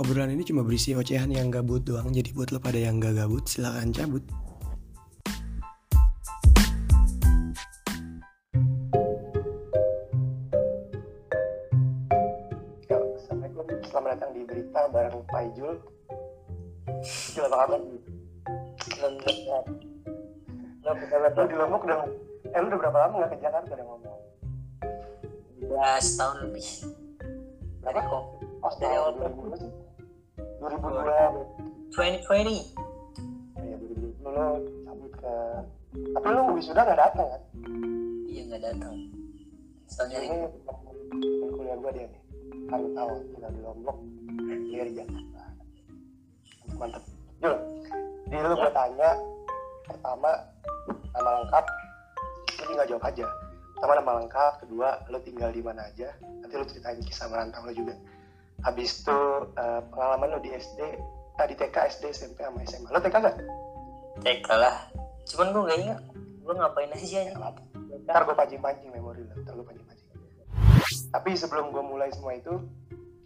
Obrolan ini cuma berisi ocehan yang gabut doang, jadi buat lo pada yang gak gabut silahkan cabut. Ya, Assalamualaikum, selamat datang di berita bareng Pak Ijul Ijul apa kabar? Lembek Lo lo di Lombok udah Eh lu udah berapa lama gak ke Jakarta udah ngomong? udah setahun lebih dari Berapa? kok Oh Dari awal 2002 sih 2002 2020 Iya 2020 lo cabut ke Tapi lo mau wisuda gak datang kan? iya nggak datang soalnya Ini temen kuliah gue dia nih Kamu tahu tinggal di Lombok Dia di Jakarta Mantep Jul, ini lu gue tanya Pertama, nama lengkap Lu tinggal jawab aja Pertama nama lengkap, kedua lu tinggal di mana aja Nanti lu ceritain kisah merantau lu juga Habis itu eh, pengalaman lu di SD Tadi TK, SD, SMP, sama SMA Lu TK gak? TK lah cuman gue nggak ingat gue ngapain aja ya apa Ntar gue pancing-pancing memori lo, ntar gue pancing-pancing. Tapi sebelum gue mulai semua itu,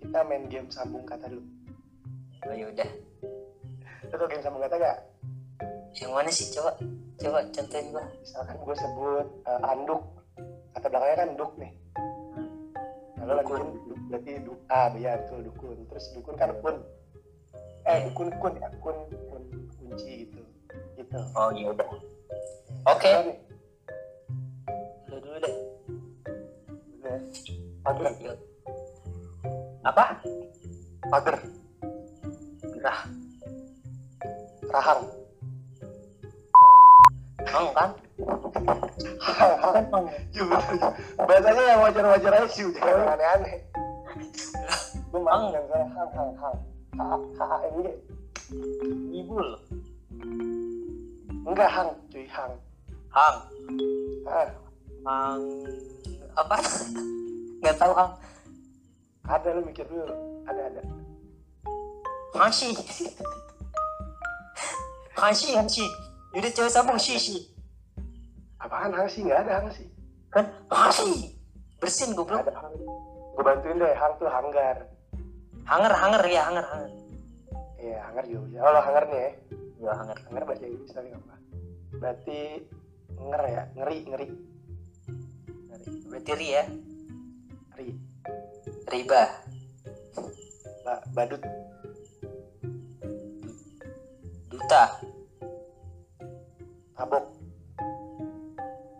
kita main game sambung kata dulu. oh, yaudah Lo tau game sambung kata gak? yang mana sih coba coba contohin gue Misalkan gue sebut eh, anduk, kata belakangnya kan duk nih. Nah, lo Dukun. lanjutin duk, berarti duk, ah iya betul dukun. Terus dukun kan kun. Eh dukun kun ya, kun, kun kunci gitu. Gitu. oh yaudah Oke. Lo nih, lu dulu deh lo ya. Father, Yuk. apa father, nah rahang. mau kan kan mau Iya, bener. Bahasanya yang wajar-wajar aja sih udah yang aneh-aneh. Gue mau yang salah hang hang hang. Hang hang ini ibu lo enggak hang cuy hang. hang Ah, hang apa nggak tahu hang ada lu mikir dulu. Ada ada. Hanshi. Hanshi, Hanshi. Yaudah cewek sambung shi shi. Apaan hang sih? Enggak ada hang sih. Kan Hanshi. Bersin Nggak goblok. ada hang. Gue bantuin deh hang tuh hanggar. Hanger, hanger ya, hanger, hanger. Iya hanggar juga. bisa. Oh lo hanggar nih ya. Ya hanger. Hanggar bahasa Inggris tapi nggak apa. Berarti nger ya ngeri ngeri Berarti ri ya. ngeri. Riba. Ba- badut Duta. tabok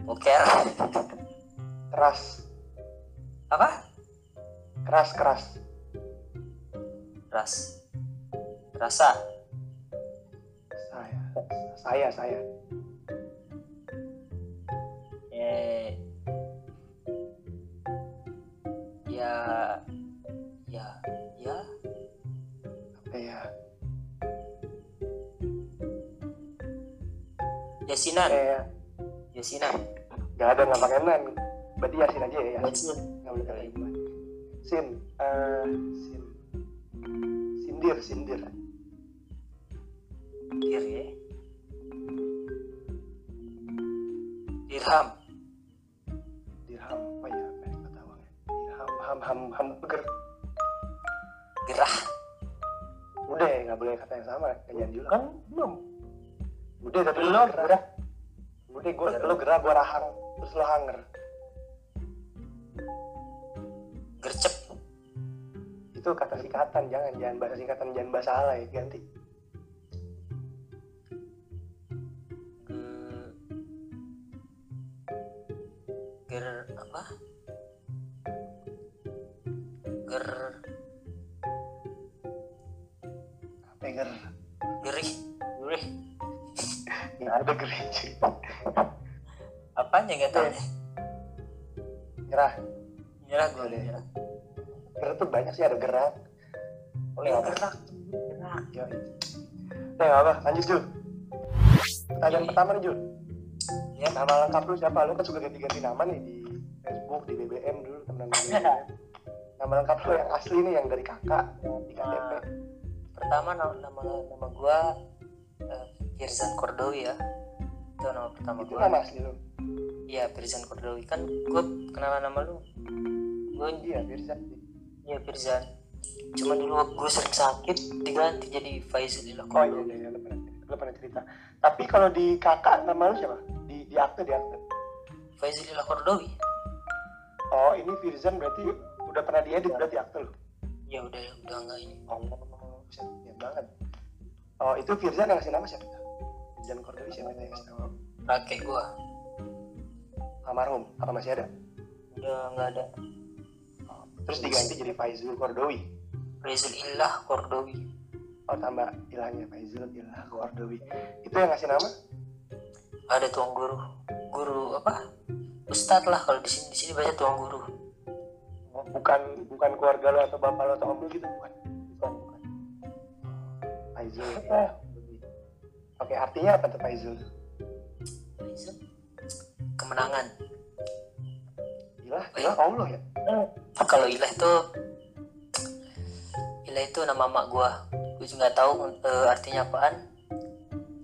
Poker. keras Apa? keras keras Ras. Rasa. saya saya saya Eh. Ya. Ya. Ya. apa ya Yasinan. eh Yasinan. Gak ada nggak pakai nan. Berarti Yasin aja ya. Yasin. Yasin. Nggak boleh kata ibu. Sin. eh sin. Sindir, sindir. Dir ya. Dirham. Dirham. Apa ya? Merek kata uang ya. Dirham, ham, ham, hamburger. Gerah. Udah ya, nggak boleh kata yang sama. Nggak jadi ulang. Kan belum. Udah, tapi lu Belum, gerah. Udah, gua, lu gerah, gua rahang. Terus lu hanger. gercep Itu kata singkatan, jangan. Jangan bahasa singkatan, jangan bahasa alay. Ganti. Ge- ger apa ger Apa ya, ger? gerih gerih Nggak ada gereja. apanya nggak tahu deh Gerah. nyerah gue Boleh. nyerah Gerah tuh banyak sih, ada gerak. oleh Iya. gerak gerak Yoi. Nah, nggak apa, lanjut Jul. Pertanyaan Yoi. pertama nih Jul. Ya. Nama lengkap lu siapa? Lu kan suka ganti-ganti nama nih di Facebook, di BBM dulu teman Nama lengkap lu yang asli nih yang dari kakak, yang di KTP. Nah, pertama nama nama nama gue Firzan Kordowi ya itu nama pertama Itu kan gue nama asli lu. iya Firzan Kordowi kan gue kenalan nama lu gue Iya, Firza. iya Firzan cuma dulu gue sering sakit diganti jadi Faizulillah Oh iya, Kordowi iya, iya, lu pernah, lu pernah cerita. Tapi kalau di kakak nama lu siapa? Di, di akte, di akte. Faizulillah Kordowi Oh, ini Virzan berarti udah pernah diedit berarti akte lu. ya udah udah enggak ini Oh, buset, iya banget. Oh, itu Virzan yang ngasih nama siapa? Virzan Kordowi siapa yang ngasih nama? kakek gue Almarhum, apa masih ada? udah nggak ada Oh, Terus diganti jadi Faizul Kordowi. Faizulillah Kordowi Oh, tambah ilahnya Faizul Ilah Kordowi. Itu yang ngasih nama? ada tuang guru guru apa Ustadz lah kalau di sini di sini baca tuang guru Oh, bukan bukan keluarga lo atau bapak lo atau om lo gitu bukan bukan bukan Faizul ya. oke artinya apa tuh Faizul Faizul. kemenangan ilah ilah Allah ya kalau ilah itu ilah itu nama mak gua gue juga nggak tahu eh, artinya apaan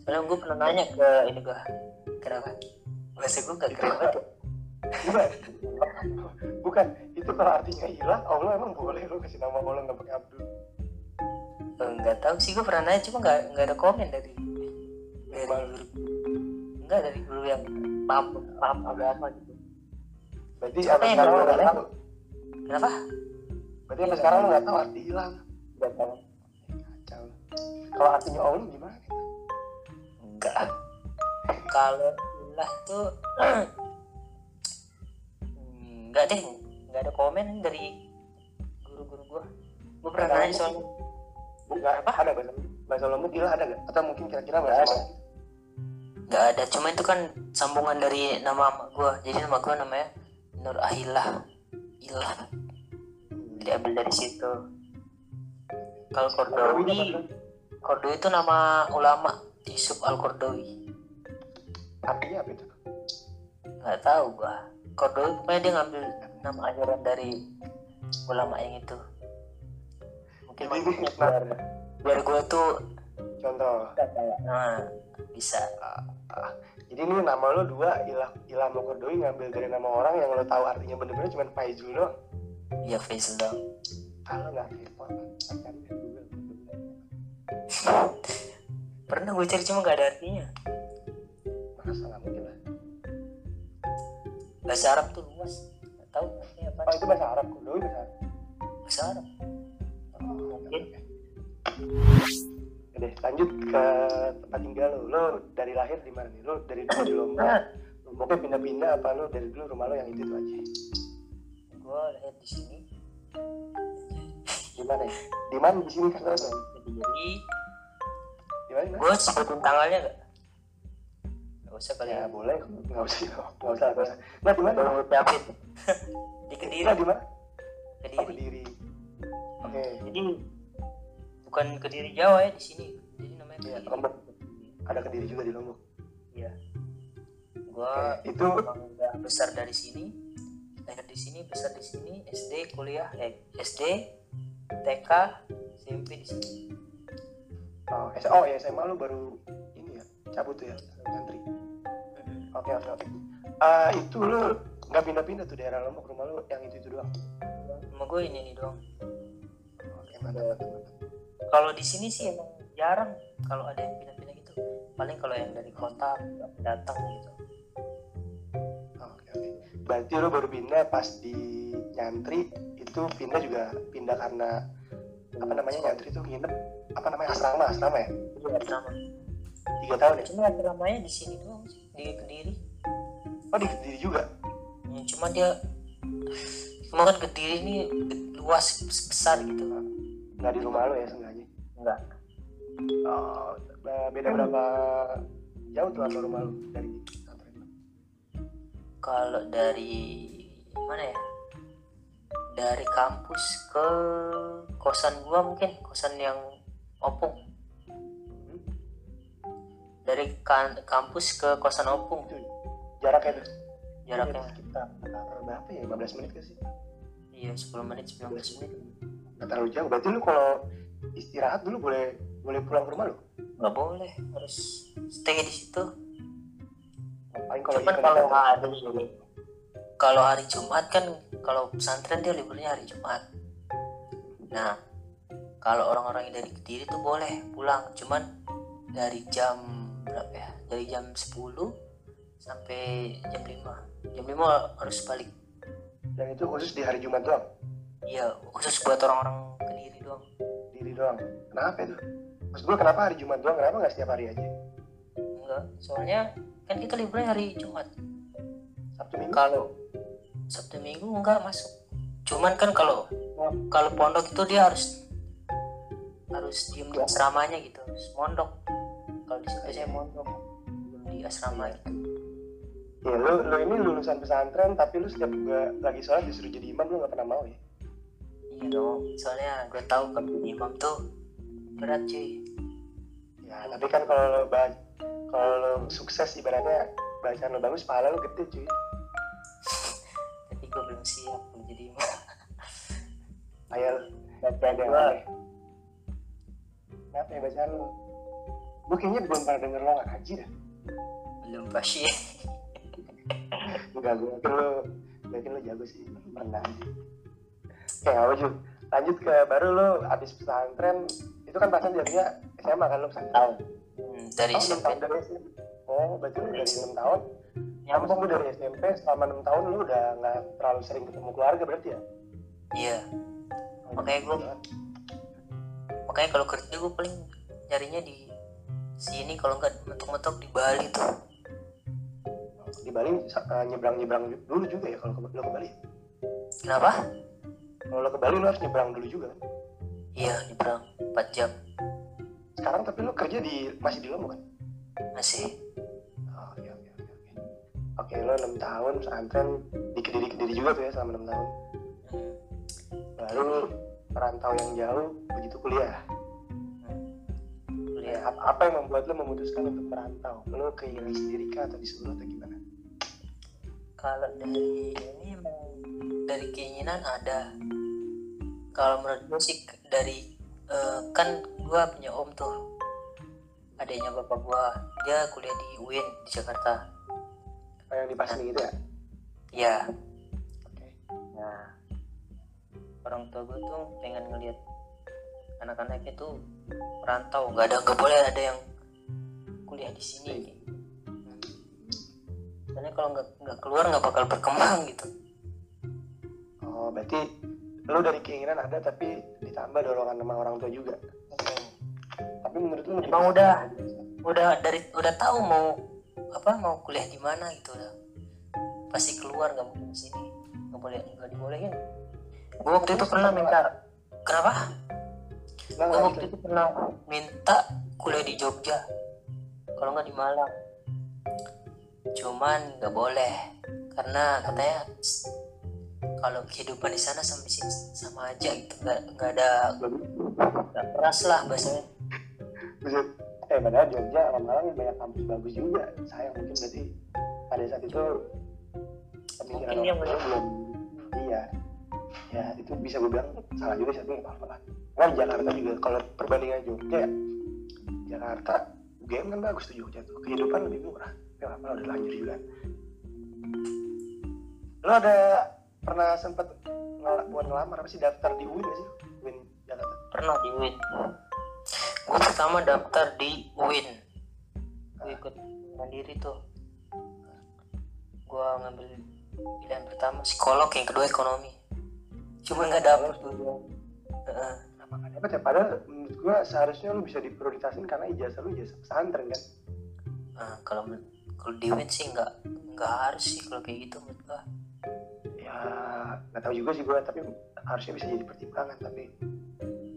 soalnya gue pernah nanya ke ini gua kenapa bahasa gue gak keren banget ya? bukan bukan itu kalau artinya ilah Allah emang boleh lo kasih nama Allah nggak pakai Abdul Eh, nggak tahu sih gue pernah nanya cuma nggak nggak ada komen dari dari guru nggak dari guru yang paham paham agama gitu berarti Siapa sampai yang sekarang lo nggak nggak boleh? tahu kenapa berarti sampai sekarang lo nggak tahu arti ilah nggak tahu kacau kalau artinya Allah gimana enggak kalau ilah tuh enggak deh enggak ada komen dari guru-guru gua gua pernah Nggak nanya ada. soalnya nggak Apa? ada bahasa bahasa lo ilah ada nggak atau mungkin kira-kira bahasa Nggak ada. enggak ada cuma itu kan sambungan dari nama emak gua jadi nama gua namanya Nur Ahilah Ilah diambil dari situ kalau Kordowi Kordowi itu nama ulama Yusuf Al Kordowi artinya apa itu nggak tahu gua Kordowi pokoknya dia ngambil nama ajaran dari ulama yang itu mungkin Jadi ini maksudnya biar biar gue tuh contoh nah bisa Ah, jadi ini nama lo dua ilah ilah Mokodoy ngambil dari nama orang yang lo tahu artinya bener-bener cuma Faizul doang ya face down kalau nggak repot akan di Google. pernah gue cari cuma gak ada artinya masa nggak mungkin lah bahasa Arab tuh luas nggak tahu artinya apa oh itu bahasa Arab Kodoy bahasa Arab bahasa Arab oh, oke, Mungkin. oke. Oke, lanjut ke tempat tinggal lo lo dari lahir di mana nih lo dari dulu di Lombok Lomboknya pindah-pindah apa lo dari dulu rumah lo yang itu, itu aja gue lahir di sini di mana ya? di mana di sini kan lo kan? jadi di mana di mana? gue sebutin tanggalnya nggak nggak usah kali ya ya boleh nggak usah nggak usah nggak usah nah di mana Baru ngucapin. di Nah, kediri di mana kediri Oh, Kediri. Oke. jadi bukan kediri Jawa ya di sini jadi namanya Iya, kediri Lombok. Ada Kediri juga di Lombok. gue Itu Emang udah besar dari sini lahir di sini besar di sini SD kuliah eh SD TK SMP di sini oh, S- oh, ya SMA lu baru ini ya, cabut tuh ya, ngantri. Oke, oke, oke. Ah, itu lu nggak pindah-pindah tuh daerah Lombok rumah lu yang itu itu doang. sama gue ini nih doang Oke, mantap, mantap, mantap. kalau di sini sih emang jarang kalau ada yang pindah-pindah gitu paling kalau yang dari kota datang gitu Oke, oke. Berarti lu baru pindah pas di nyantri itu pindah juga pindah karena apa namanya nyantri itu nginep apa namanya asrama asrama ya Iya, asrama tiga tahun ya cuma asramanya di sini doang sih di kediri oh di Kediri juga Hmm, cuma dia cuma kan kediri ini luas besar gitu nggak di rumah lu ya seenggaknya enggak Oh, beda berapa jauh tuh antar rumah lu dari kantor itu? kalau dari mana ya dari kampus ke kosan gua mungkin kosan yang opung dari kan- kampus ke kosan opung Itu jaraknya tuh Iya, jaraknya sekitar berapa ya? 15 menit kan sih? iya 10 menit 19 menit Nggak terlalu jauh. Berarti lu kalau istirahat dulu boleh boleh pulang ke rumah lu. nggak boleh harus stay di situ Paling kalau cuman event kalau event- hari kalau hari Jumat kan kalau pesantren dia liburnya hari Jumat nah kalau orang-orang yang dari Kediri tuh boleh pulang cuman dari jam berapa ya dari jam 10 sampai jam 5 jam 5 harus balik Dan itu khusus di hari Jumat doang. iya khusus buat orang-orang Kediri doang Diri doang. Kenapa itu? Maksud gue kenapa hari Jumat doang? Kenapa nggak setiap hari aja? enggak soalnya kan kita liburnya hari Jumat Sabtu Minggu. kalau Sabtu Minggu enggak masuk cuman kan kalau Oh. kalau pondok itu dia harus harus diem di asramanya gitu harus mondok kalau Iya, di situ saya mondok diem di asrama gitu Ya lu, lu ini lulusan pesantren tapi lu setiap gua lagi sholat disuruh jadi imam lu nggak pernah mau ya. iya dong soalnya gue tahu kalau jadi imam tuh berat cuy Ya tapi kan kalau lu ba- kalau lu sukses ibaratnya bacaan lu bagus pahala lu gede cuy. tapi gue belum siap menjadi imam Ayo baca ada yang Wah. aneh. Kenapa ya bacaan lu? Gue kayaknya belum pernah denger lo ngaji dah. belum pasti Enggak, gue yakin lo, gue yakin lo jago sih, pernah. Oke, nggak apa Jul. Lanjut ke baru lo abis pesantren, itu kan pasan jadinya SMA kan lo pesantren. Hmm, dari Oh, enam SMP tahun dari SMP. Oh, berarti lo dari 6 tahun. Kamu nyambung tuh dari SMP selama 6 tahun lo udah nggak terlalu sering ketemu keluarga berarti ya? iya Makanya gua- makanya kalau kerja gue paling nyarinya di sini kalau nggak mentok-mentok di Bali tuh di Bali eh, nyebrang-nyebrang dulu juga ya kalau ke- lo ke Bali. kenapa Kalau lo ke Bali lo harus nyebrang dulu juga. kan? iya di Perang 4 jam Sekarang tapi lo kerja di masih di Lombok kan? masih Oh, oke oke oke oke. Oke, lo 6 tahun pesantren di Kediri-Kediri juga tuh ya selama 6 tahun. Hmm. Baru lo merantau yang jauh begitu kuliah. Ya, kuliah ap- apa yang membuat lo memutuskan untuk merantau? Lo keinginan sendiri kah atau disuruh atau gimana? kalau dari ini emang dari keinginan ada kalau menurut gue sih ke- dari eh, kan gue punya om tuh adanya bapak gue dia kuliah di UIN di Jakarta Apa yang dipasang gitu ya? ya Oke. nah orang tua gue tuh pengen ngelihat anak-anaknya tuh merantau nggak ada nggak boleh ada yang kuliah di sini karena kalau nggak nggak keluar nggak bakal berkembang gitu Oh, berarti lo dari keinginan ada tapi ditambah dorongan sama orang tua juga. Tapi menurut lo lebih Emang besar udah. apa yang udah dari udah tahu mau apa mau kuliah di mana gitu udah pasti keluar nggak mungkin di sini nggak boleh nggak dibolehin gue waktu itu pernah minta kenapa besar? Nah, gue lanjut, waktu itu pernah minta kuliah di Jogja kalau nggak di Malang cuman nggak boleh karena katanya s- kalau kehidupan di sana sama di sini sama aja gitu nggak nggak ada lanjut. nggak keras lah bahasanya Buset. Eh padahal Jogja sama Malang banyak kampus bagus juga. Sayang mungkin berarti pada saat itu pemikiran Mungkin dia orang tua belum iya. Ya itu bisa gue bilang salah juga sih tapi nggak apa-apa lah. Karena di Jakarta juga kalau perbandingan Jogja ya, Jakarta game kan bagus tuh Jogja tuh kehidupan lebih murah. Ya nggak apa-apa udah lanjut juga. Lo ada pernah sempet ngelamar, bukan ngelamar apa sih daftar di UIN gak sih? UIN Jakarta. pernah di Win gue pertama daftar di Win gue ikut mandiri tuh gue ngambil pilihan pertama psikolog yang kedua ekonomi cuma nggak dapet dulu Heeh. Kenapa nggak dapet ya? Padahal menurut gua seharusnya lu bisa diprioritasin karena ijazah lu ijazah pesantren kan. Nah, kalau men- kalau di Win sih nggak nggak harus sih kalau kayak gitu menurut gue Ya nggak tahu juga sih gua tapi harusnya bisa jadi pertimbangan tapi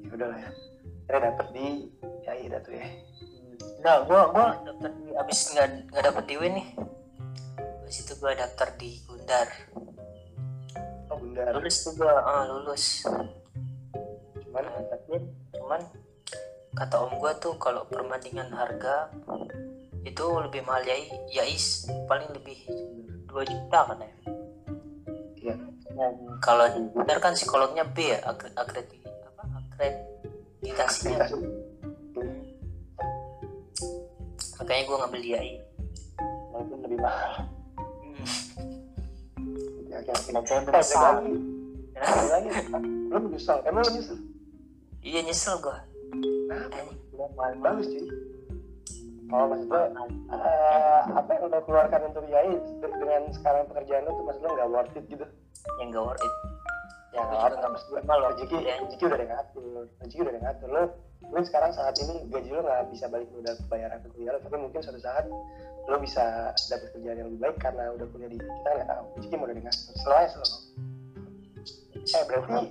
ya udahlah ya. Akhirnya dapet di ya iya dah tuh ya. nah gue gue daftar di abis nggak nggak dapet di Win nih abis itu gue daftar di Gundar Oh bundar. lulus tuh gue ah lulus Cuman tapi cuman kata om gua tuh kalau perbandingan harga itu lebih mahal yai yais paling lebih 2 juta kan ya ya Dan kalau di bener kan psikolognya B ya akre- akredi apa akreditasinya akreditasi. Hmm, makanya gua ngambil yai Walaupun lebih mahal. Ya, ya, ya. Nah, saya Eh, balik menyesal. lagi, balik lagi. Lu menyesal, emang lu menyesal? iya nyesel gue Kenapa? Udah paling bagus cuy. Kalau Oh, maksud lo, eh, apa yang udah keluarkan untuk Yai de- dengan sekarang pekerjaan lo tuh maksud lo nggak worth it gitu? yang gak worth it Ya Gua nggak juga apa nggak- maksud gue. Malah rezeki, Iya. rezeki udah ada yang ngatur, rezeki udah ada yang ngatur lo. Mungkin sekarang saat ini gaji lo nggak bisa balik modal bayaran ke kuliah lo, tapi mungkin suatu saat lo bisa dapat kerjaan yang lebih baik karena udah kuliah di kita nggak tahu. Rezeki mau udah ngatur, selalu selalu. Eh berarti ngeri eh,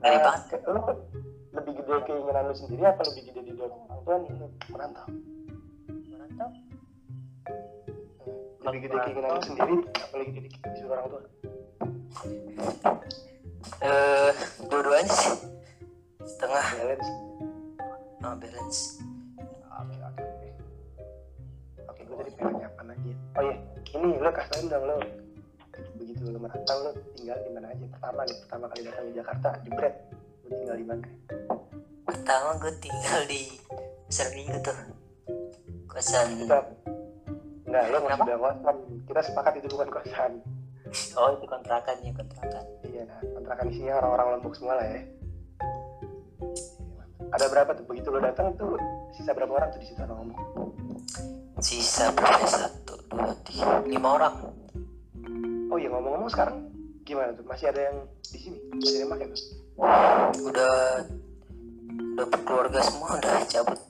Iya. banget ke- lo lebih gede keinginan lo sendiri apa lebih gede di dorong orang tua nih lo merantau? merantau lebih gede keinginan lu sendiri apalagi gede disuruh orang tua eh dua-duanya sih setengah balance ah, balance oke oke oke oke gue tadi pengen nanya apa lagi ya? oh iya ini lo kasain dong lo begitu lo merantau lo tinggal di mana aja pertama nih pertama kali datang di Jakarta jebret lo tinggal di mana pertama gue tinggal di pasar minggu tuh kosan kita Enggak, lo masih Kenapa? bilang kosan kita sepakat itu bukan kosan oh itu kontrakan ya kontrakan iya nah kontrakan isinya orang-orang lombok semua lah ya ada berapa tuh begitu lo datang tuh sisa berapa orang tuh di situ orang lombok sisa berapa satu dua tiga lima orang Oh iya ngomong-ngomong sekarang gimana tuh? Masih ada yang di sini? Masih ada yang pakai tuh? udah udah berkeluarga semua udah cabut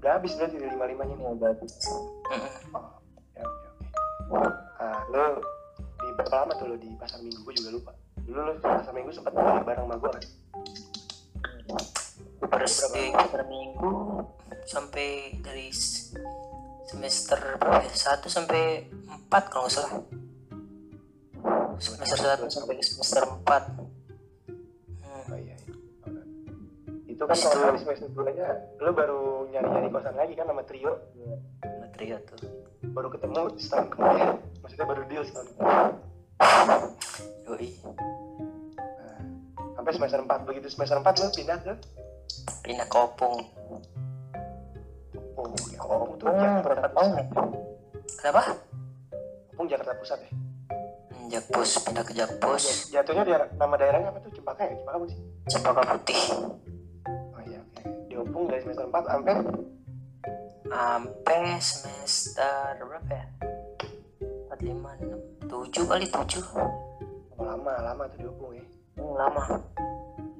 Udah habis berarti di lima limanya nih udah habis. Mm-mm. Oh, ya oke oke. Ah, lo di berapa lama tuh lo di pasar minggu? Gue juga lupa. Dulu lo pasar minggu sempat balik bareng sama gue kan? terus di pasar minggu sampai dari s- semester berapa ya? satu sampai empat kalau nggak salah semester satu sampai semester empat hmm. Oh iya. iya. Oh, nah. Itu kan kalau habis semester dua aja, lo baru nyari-nyari kosan lagi kan sama trio? material tuh Baru ketemu setahun kemudian. Maksudnya baru deal setahun kemudian. Yoi. Nah, sampai semester 4 begitu semester 4 lo pindah ke pindah ke opung oh, ya, Opung tuh Jakarta Pusat. kenapa Opung Jakarta Pusat ya. Iya. Hmm, jakpus pindah ke jakpus jatuhnya daerah, nama daerahnya apa tuh Cempaka ya Cempaka bukan sih cepaka putih oh iya oke diopung dari semester 4 sampai sampai semester berapa ya empat lima enam tujuh kali tujuh oh, lama lama tuh diopung ya Hmm, lama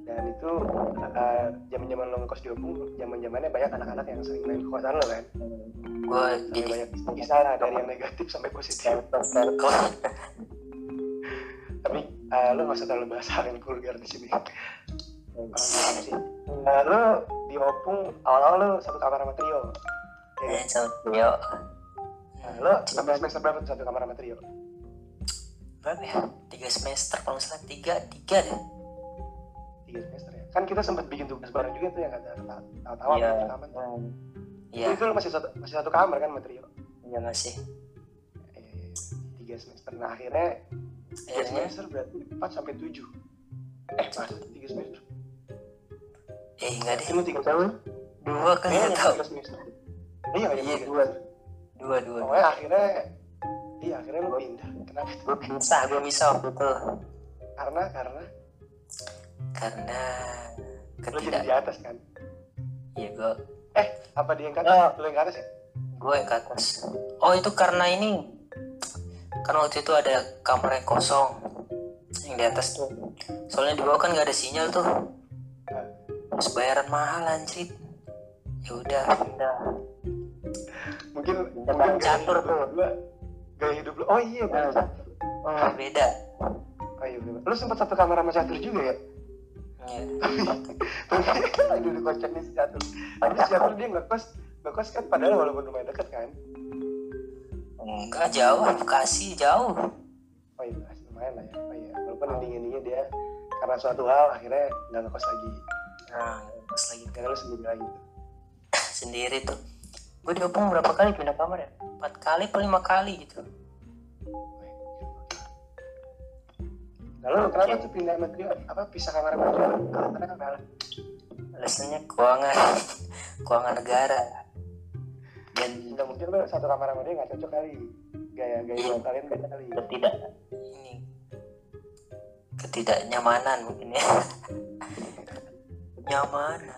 dan itu eh, zaman-zaman lo ngekos diopung zaman-zamannya banyak anak-anak yang sering main ke kosan lo kan gue Sampai jadi banyak kisah lah dari yang negatif sampai positif circle tapi eh, lo nggak usah terlalu bahas hal yang vulgar di sini Orang dalam sih nah, lo diopung awal-awal lo satu kamar sama trio Eh, ya. sama Tio. nah, lo Hmm, sampai semester berapa tuh satu kamar sama trio berapa ya? Tiga semester kalau nggak salah tiga, tiga deh. tiga semester ya kan kita sempat bikin tugas bareng juga tuh yang ada tawa-tawa Iya. di taman tuh. Iya, Itu lu masih satu, masih satu kamar kan material? iya masih. Tiga semester. Nah akhirnya tiga Akhirnya, semester berarti empat sampai tujuh. Eh pas tiga semester. eh nggak deh, Ini tiga tahun? dua kan Kayaknya nggak yang tahu. tiga semester. Iya iya Iya, tiga dua. semester. Dua, dua. Pokoknya akhirnya iya akhirnya lu pindah. Kenapa? Gue pisah, gue misah waktu itu Karena karena karena lu ketidak. jadi di atas kan. Iya, gue Apa dia yang ke Oh. atas? Lu yang ke atas ya? gue yang ke atas. Oh itu karena ini, karena waktu itu ada kamar yang kosong yang di atas tuh. Soalnya di bawah kan nggak ada sinyal tuh. Terus bayaran mahal anjrit. Ya udah, pindah. Mungkin Bukan mungkin gaya catur hidup lu tuh. berdua- Gaya hidup lu. Oh iya bener Nah. catur. Ah, beda. Oh iya bener. Lu sempat satu kamar sama catur juga ya? Iya. Aduh dikocok nih si catur. Tapi si catur dia ngekos ngekos kan padahal walaupun lumayan deket kan. Enggak jauh, Bekasi jauh. oh iya masih lumayan lah ya oh iya walaupun ending endingnya dia karena suatu hal akhirnya nggak ngekos lagi Nah, pas lagi karena lu sendiri gitu. lagi sendiri tuh. Gue diopong berapa kali pindah kamar ya? Empat kali atau lima kali gitu. lalu kenapa tuh pindah sama trio apa pisah kamar sama trio karena kan kalah Alasannya keuangan, keuangan negara. Dan nggak mungkin lu satu kamar sama dia nggak cocok kali gaya gaya Iya. kalian beda kali ketidak ini ketidaknyamanan mungkin ya. yang mana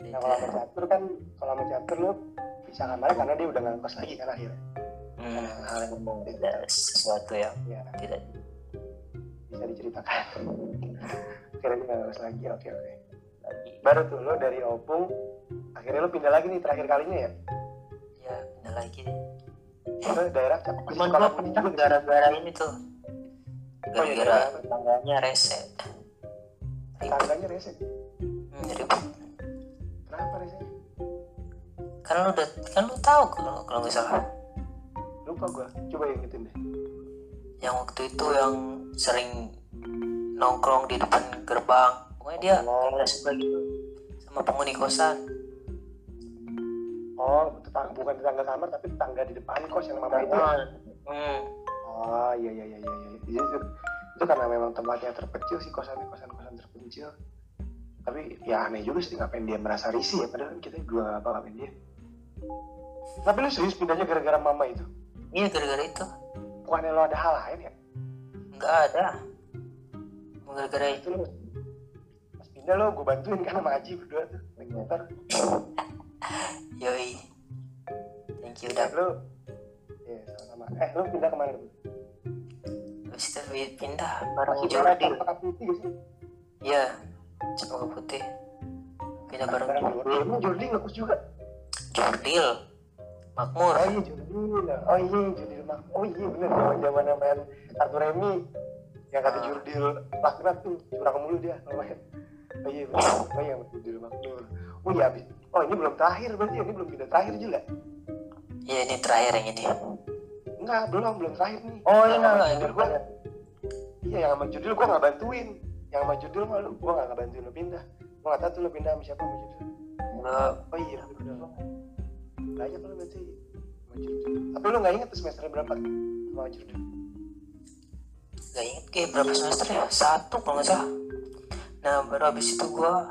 Nah kalau sama catur kan kalau sama catur lu bisa kamarnya karena dia udah nggak ngekos lagi kan akhirnya. Nah, hmm, Hal yang menarik. tidak sesuatu yang Ya tidak bisa diceritakan. akhirnya dia nggak ngekos lagi oke oke. lagi Baru tuh lu dari Opung akhirnya lu pindah lagi nih terakhir kalinya ya. ya pindah lagi deh Ke daerah Cak- teman sekolah gua pindah gara-gara ini tuh Oh iya, gara-gara iya. tangganya reset ribut Tangganya rese. hmm, ribut Kenapa rese? kan lu udah kan lu tahu kalau kalau nggak salah Lupa gua. Coba ingetin deh. yang waktu itu yang sering nongkrong di depan gerbang pokoknya dia Oh. nggak suka gitu sama penghuni kosan Oh, tetang- bukan tetangga kamar tapi tetangga di depan kos yang mama itu. hmm. Oh iya iya iya iya. iya. Jadi itu, itu karena memang tempatnya terpencil sih kosannya kosan kosan terpencil. Tapi ya aneh juga sih ngapain dia merasa risih ya padahal kita juga gak apa ngapain dia. Tapi lu serius pindahnya gara-gara mama itu? iya gara-gara itu Bukannya lo ada hal lain ya? nggak ada gara-gara itu Itu lo pas pindah lo gue bantuin kan sama Aji berdua tuh naik motor. yoi thank you Dan dah lo ya sama. Eh lo pindah kemana? habis itu pindah bareng Masih ya? Jordi daerah Cempaka Putih gak sih? Iya, cuma putih. Pindah Barang bareng Jordi. Emang Jordi ngekos juga? Jordil, Oh Makmur. iya Jody Miller. Oh iya Jody Miller. Oh iya bener zaman zaman main kartu remi yang kata Ah. Jody laknat tuh curang mulu dia lumayan. Oh iya bener. Oh iya Jody Makmur. Oh iya abis. Oh ini belum terakhir berarti ya? ini belum pindah terakhir juga. Iya ini terakhir yang ini. Enggak belum belum terakhir nih. Oh Yang sama Jody enggak gua. Iya yang sama Jody gua nggak bantuin. Yang sama Jody malu gua nggak ngebantuin lo pindah. Gua nggak tahu tuh lo pindah sama siapa sama Jody. Oh iya bener. Banyak lo berarti. sama Jody. Tapi lo nggak inget tuh semester berapa sama Jody? Gak inget kayak berapa semester ya? Satu kalau nggak salah. Nah baru habis itu gua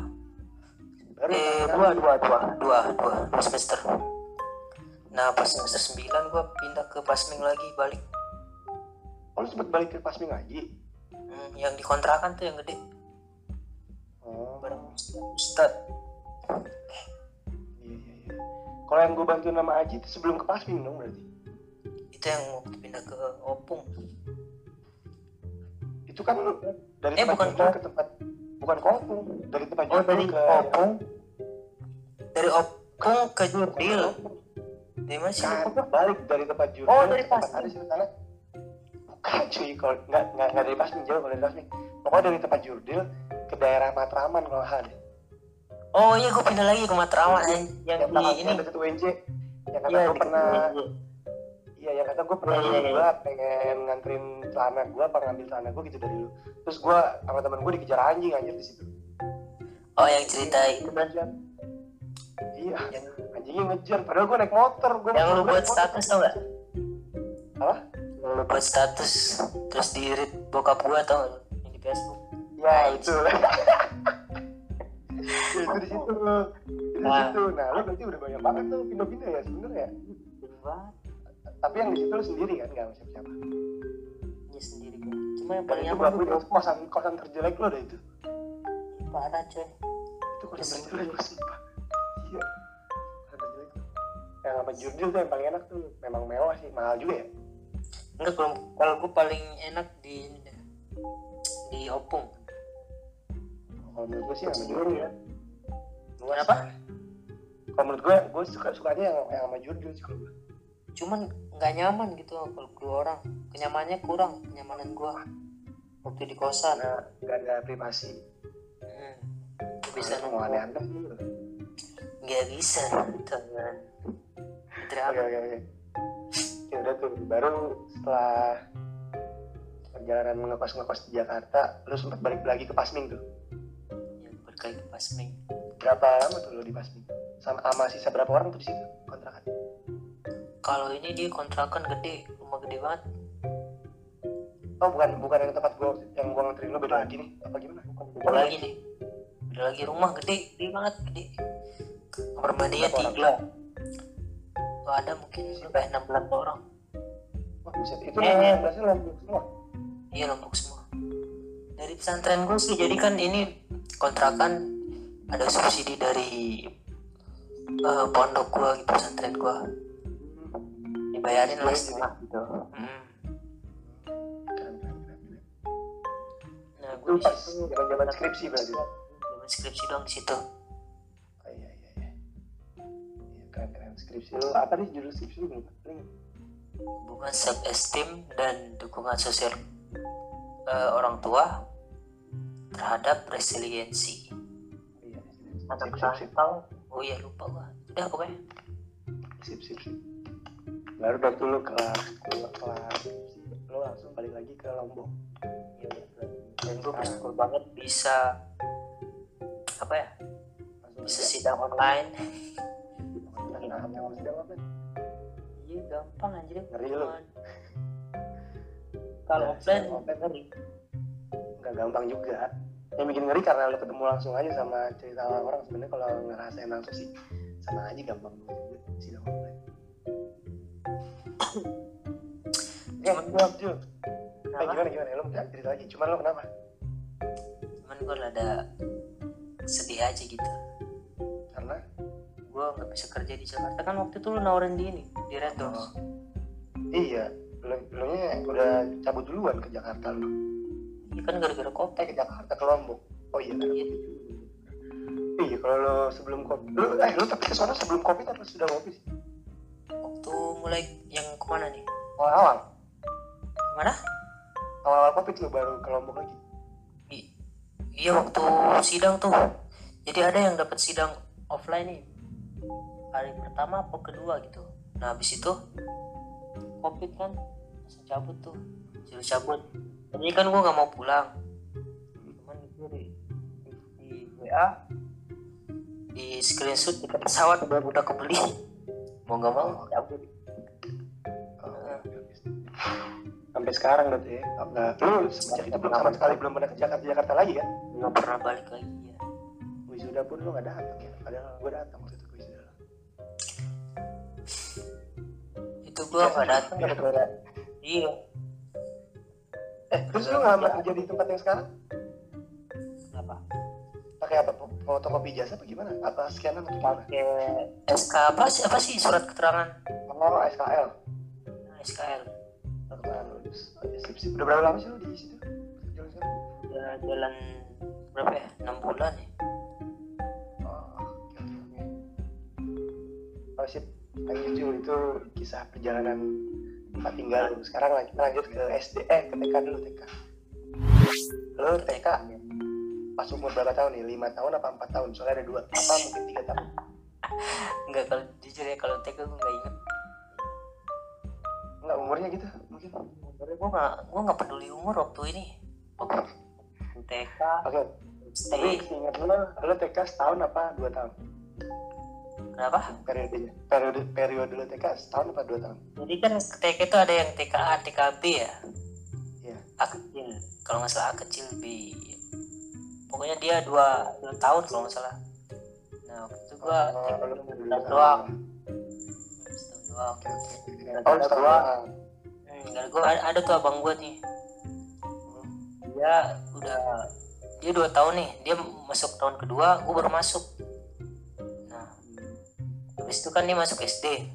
Baru eh sekarang. dua dua dua dua dua dua semester. Nah pas semester sembilan gua pindah ke Pasming lagi balik. Oh, lu sempet balik ke Pasming lagi? Hmm, yang dikontrakan tuh yang gede Oh, bareng Ustad. iya, iya, iya. Kalau yang gue bantuin sama Aji itu sebelum ke Pasming dong berarti? Itu yang waktu pindah ke Opung. Itu kan lu dari Eh, tempat bukan kita ke tempat... Bukan Kopung, dari tempat Oh kita dari ke... Opung dari Opung ke Jordil. Di mana sih? Kan, balik dari tempat Jurgen. Oh, dari tempat Pasming. Ada sih sana. Bukan cuy, kalau nggak, nggak, nggak dari Pasming, jauh kalau dari Pasming. Pokoknya dari tempat Jurdil ke daerah Matraman kalau nggak salah deh. Oh iya gue pindah lagi ke Matraman yang, yang Yang di tempat ini. yang deket UNJ. Yang kata Iya gue di- pernah Iya, yang kata gue pernah Iya, iya, gue pengen nganterin celana gue, apa ngambil celana gue gitu dari lu. Terus gue sama teman gue dikejar anjing anjir di situ. Oh yang cerita itu kan Iya, yang, anjingnya ngejar. Padahal gue naik motor. Gue yang lu buat status tau gak? Apa? Yang lu buat status terus di read bokap gue tau gak? lu? Yang di Facebook. Ya itu. Ya, itu di situ. Itu di Nah. situ. Nah, lu berarti udah banyak banget tuh pindah-pindah ya sebenarnya. Gue Tapi yang di situ lu sendiri kan, nggak sama siapa-siapa. sendiri gue. Cuma yang Dan paling itu nyaman gua akui, itu kosan kosan terjelek lu ada itu. tuh parah coy. itu kalau sebenarnya jelek gue sumpah iya ada jelek yang Ya, sama jurdil tuh yang paling enak tuh memang mewah sih mahal juga ya Enggak kalau kalau gue paling enak di ini deh. di Opung. kalau menurut gue sih yang sama jurdil ya Bukan apa? kalau menurut gue gue suka sukanya yang yang sama jurdil sih kalau gue Cuman nggak nyaman gitu kalau keluar orang. Kenyamanannya kurang kenyamanan gue waktu di kosan. karena gak ada privasi Hmm. Gua bisa Karena mau nunggu aneh-aneh nggak bisa teman oke drama oke oke ya udah tuh baru setelah perjalanan ngekos ngekos di Jakarta lu sempet balik lagi ke Pasming tuh yang berkali ke pasming berapa lama tuh lu di Pasming sama sama sisa berapa orang tuh di situ kontrakan kalau ini dia kontrakan gede rumah gede banget oh bukan bukan yang tempat gua yang gua nganterin lu beda lagi nih apa gimana ada lagi nih ada lagi rumah gede gede banget gede kamar mandinya Berapa orang? tiga Tuh ada mungkin lebih enam belas orang Wah, Oh, buset. Itu Eh, eh. namanya berhasil lanjut semua. iya lombok semua dari pesantren gue sih jadi kan ini kontrakan ada subsidi dari eh, pondok gua gitu pesantren gua dibayarin Iya, lah setengah gitu Mm. nah Lu gua di pas situ zaman-zaman skripsi berarti. zaman skripsi doang di situ Oh, iya iya iya. Iya keren keren skripsi lu apa nih judul skripsi lu berapa? Paling hubungan self esteem dan dukungan sosial eh, orang tua terhadap resiliensi iya. atau Sip, sip, sip. kesal oh iya lupa gua udah pokoknya sip sip sip baru dah tuh lu kelar lu kelar lu langsung balik lagi ke lombok Iya, betul. dan gue bersyukur Iya, banget bisa apa ya langsung bisa sidang online nah, emang sedang apa iya gampang anjir Ngeri lu. kalau offline offline ngeri Nah, nggak gampang juga yang bikin ngeri karena lu ketemu langsung aja sama cerita orang sebenarnya kalau ngerasain langsung sih sama aja gampang banget juga sidang online Eh, Cuman gua Jul. Eh, Iya, kenapa gimana gimana? Lu nggak cerita lagi. Cuman lu kenapa? cuman gue ada sedih aja gitu Karena gue nggak bisa kerja di Jakarta kan waktu itu lu nawarin di ini di Red Doors iya, lu lu nya udah cabut duluan ke Jakarta lu. Iya kan gara-gara eh kopi ke Jakarta ke Lombok oh iya kan? Iya. iya kalau lo sebelum kopi lo eh lo tapi kesana sebelum kopi atau sudah kopi sih waktu mulai yang kemana nih awal awal Kemana? awal awal kopi tuh baru ke Lombok lagi I- iya waktu sidang tuh jadi ada yang dapat sidang offline nih hari pertama atau kedua gitu nah habis itu covid kan langsung cabut tuh suruh cabut tadinya kan gua nggak mau pulang cuman gue di, di, di WA di screenshot tiket pesawat udah udah kebeli mau nggak mau cabut Oh, sampai sekarang lo ya nggak lo semenjak itu belum sama sekali belum pernah ke Jakarta Jakarta lagi kan nggak pernah balik lagi ya wisuda pun lo nggak datang ya padahal gue datang waktu itu ke wisuda itu gua nggak datang gara iya eh terus lo ngelamar kerja di tempat yang sekarang apa pakai apa fotokopi jasa apa gimana apa scanan atau gimana pakai SK apa sih apa sih surat keterangan oh SKL SKL Terus, oh, ya, sip, sip. udah berapa lama sih lo di situ Jalan sekarang? udah jalan berapa ya enam bulan ya Oh sip, lanjut Jul. itu kisah perjalanan tempat tinggal lu. Sekarang lan- kita lanjut ke SD, eh ke TK dulu TK Lu TK pas umur berapa tahun nih? 5 tahun apa 4 tahun? Soalnya ada dua, apa mungkin 3 tahun nggak kalau jujur ya kalau TK gue nggak inget Enggak umurnya gitu mungkin Sebenernya gue nggak gue nggak peduli umur waktu ini waktu TK Oke, lu stay ingat lu, lu TK setahun apa 2 tahun? kenapa Periodenya, periode, periode lu TK setahun apa 2 tahun? jadi kan TK itu ada yang TKA TKB ya Iya, A kecil kalau nggak salah A kecil B iya. pokoknya dia dua, dua tahun kalau nggak salah nah waktu itu gue Oh, TK lu umur dua setahun tahun. doang setahun doang Oke, oke, oke. Nah, Oh, ada setahun gua- doang. Hmm, gara gua ada, ada tuh abang gue nih. Dia udah dia dua tahun nih, dia masuk tahun kedua, gue baru masuk. Nah, habis itu kan dia masuk SD.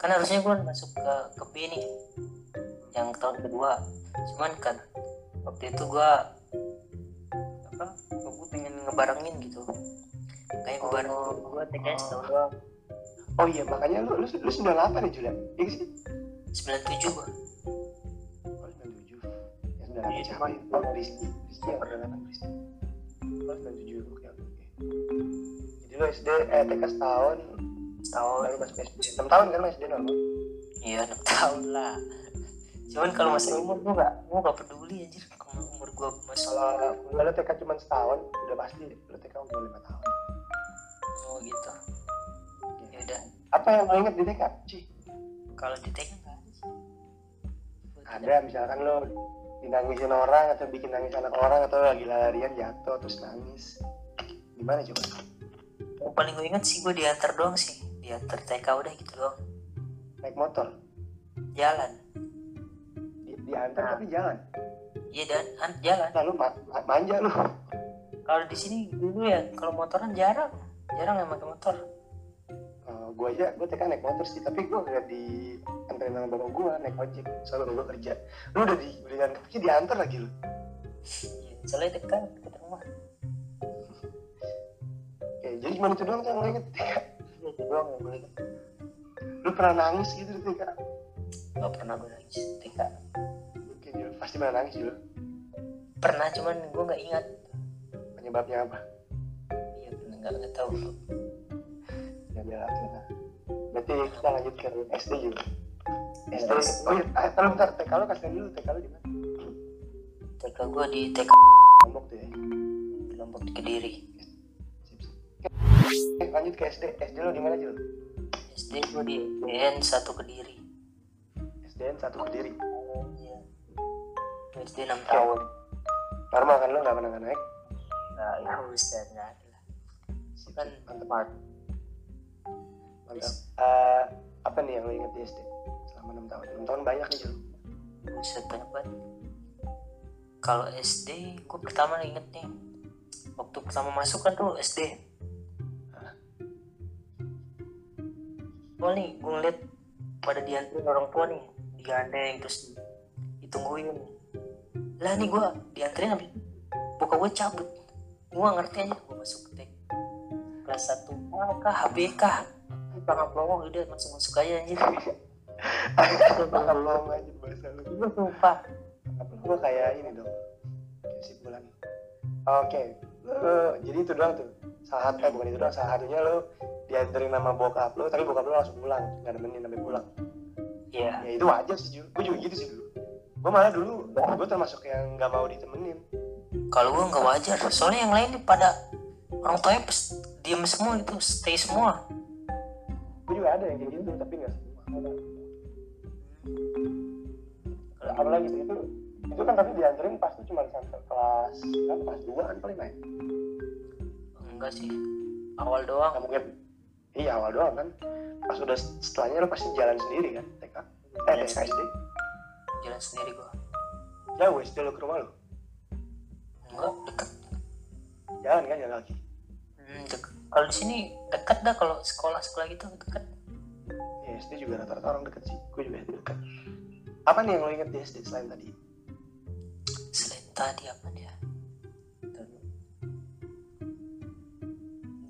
Kan harusnya gue masuk ke ke B nih, yang tahun kedua. Cuman kan waktu itu gue apa? Gue pengen ngebarengin gitu. Kayak gue bareng gue Oh, TKS tahun doang. Oh iya, makanya lu lu, lu 98 ya, Julian? Iya sih? 97 gue. Oh, 97. Ya, 98 siapa ya? Oh, Rizky. Rizky yang pernah datang, Rizky. Oh, 97. Oke, oke, oke. Jadi lu SD, eh, TK setahun, eh, Tahun baru masuk SD. 6 tahun kan lu SD normal? Iya enam tahun lah. Cuman kalau masalah umur gue nggak gue nggak peduli anjir kalau umur gue Kalau masalah kalau lu TK cuma setahun, udah pasti lu TK umur 5 tahun. oh gitu. Ya udah Apa yang lu inget di TK? Ci, kalau di TK nggak ada sih. Gua tidak- ada misalkan lu dinangisin orang atau bikin nangis anak orang atau lagi larian jatuh terus nangis gimana coba Yang paling gue ingat sih gue diantar doang sih diantar TK udah gitu doang naik motor jalan. di, diantar tapi jalan Iya dan an- jalan. lalu ma ma- manja lu kalau di sini dulu ya kalau motoran jarang jarang yang pakai motor gue Eh, aja gue TK naik motor sih tapi gue nggak di anterin sama bapak gue naik ojek soalnya gue kerja lu udah di udah diantar tapi diantar lagi lu Iya, soalnya dekat dekat rumah Oke, jadi cuma itu doang kan gue inget TK Cuma itu doang yang gue inget lu pernah nangis gitu di TK nggak pernah gue nangis TK Oke, Jul, pasti pernah nangis Jul pernah cuman gue nggak ingat penyebabnya apa iya pernah nggak nggak tahu ya biar aja lah berarti kita lanjut ke SD Jul SD oh iya ah, taruh bentar TK lu kasih dulu TK lu di mana TK gue di TK Lombok tuh ya di Lombok di Kediri Sip, sip. Oke, lanjut ke SD SD lu di mana Jul SD gue di DN satu Kediri SDN satu Kediri Iya. SD enam tahun normal kan lu nggak pernah naik nah ya bisa nggak ada lah Sip, kan sip. mantep tempat Mantap. Eh, apa nih yang lo inget di SD selama 6 tahun? 6 tahun banyak nih Jul. Buset banyak banget. Kalau SD, gue pertama inget nih. Waktu pertama masuk kan tuh SD. Gue nih, gue ngeliat pada dianterin orang tua nih. Digandeng, terus ditungguin. Lah nih gue dianterin habis buka gue cabut. Gue ngerti aja gue masuk ke TK. Kelas 1 A kah, HB kah. Bang Aplongo udah masuk-masuk aja anjir. Bakal lo aja bahasa lu. Gue sumpah. Gue kayak ini dong. Kayak si bulan. Oke. Lo- jadi itu doang tuh. Saat eh bukan itu doang. Salah satunya lo dianterin nama bokap lo, tapi bokap lo langsung pulang, nggak nemenin sampai pulang. Iya. Ya itu wajar sih Jul. Gue juga gitu sih dulu. Gue malah dulu, gue termasuk yang nggak mau ditemenin. kalau gue nggak wajar soalnya yang lain nih pada orang tuanya pes- diem semua gitu stay semua Gue juga ada yang kayak gitu, tapi nggak semua. Nah, apalagi sih, itu itu kan tapi dianterin pasti cuma sampai kelas kan kelas dua kan paling naik enggak sih awal doang nggak mungkin iya awal doang kan pas udah setelahnya lo pasti jalan sendiri kan TK eh Iya, TK sih. SD jalan sendiri gue jauh SD lo ke rumah lo enggak deket jalan kan jalan kaki hmm, deket. kalau di sini deket dah kalau sekolah sekolah gitu deket ya SD juga rata-rata orang deket sih gue juga deket apa nih yang lo inget di SD selain tadi selain tadi apa dia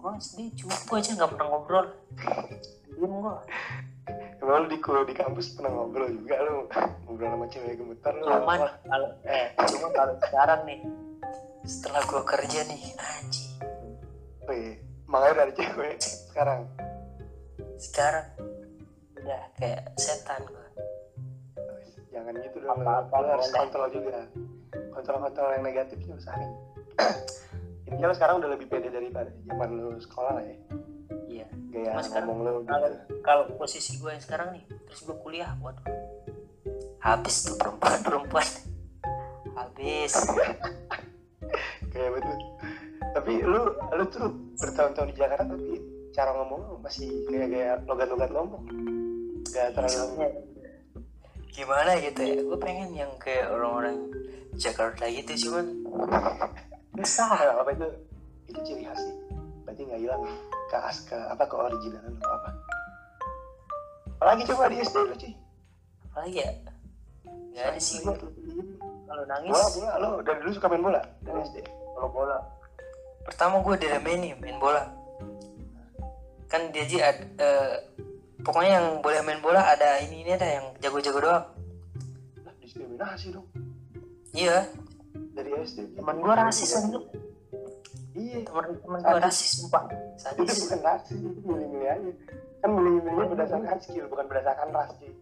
gue sedih cukup aja nggak pernah ngobrol diem gue emang lo di kuliah di kampus pernah ngobrol juga lo ngobrol sama cewek gemetar lo aman Wah, kalau eh cuma kalau sekarang nih setelah gue kerja nih anjing weh, ya? makanya dari cewek sekarang sekarang udah kayak setan gue jangan gitu dong Apa-apa lo harus boleh. kontrol juga kontrol kontrol yang negatifnya usahain intinya lo sekarang udah lebih pede daripada zaman lo sekolah lah ya iya gaya Mas, sekarang ngomong lo kalau gitu kalau posisi gue yang sekarang nih terus gue kuliah waduh habis tuh perempuan perempuan habis gaya Iya, betul tapi lo lo tuh bertahun-tahun di Jakarta tapi cara ngomong lo masih kayak gaya logat-logat lombok gak terlalu Maksudnya, gimana gitu ya gue pengen yang kayak orang-orang Jakarta gitu cuman Ah, susah nggak Nah, apa itu itu ciri khas sih berarti nggak hilang ya. ke as ke apa ke originalan atau apa apalagi coba di SD lo cuy apalagi ya nggak ada sih gue kalau bola nangis bola lo dari dulu suka main bola dari SD kalau bola pertama gue diremehin nih main bola kan dia ji ad- eh, pokoknya yang boleh main bola ada ini ini ada yang jago-jago doang Lah, diskriminasi dong iya dari SD teman gue rasis kan itu iya teman teman gue Sadis. rasis sumpah itu sadis bukan rasis itu milih-milih aja kan milih-milihnya berdasarkan skill bukan berdasarkan ras sih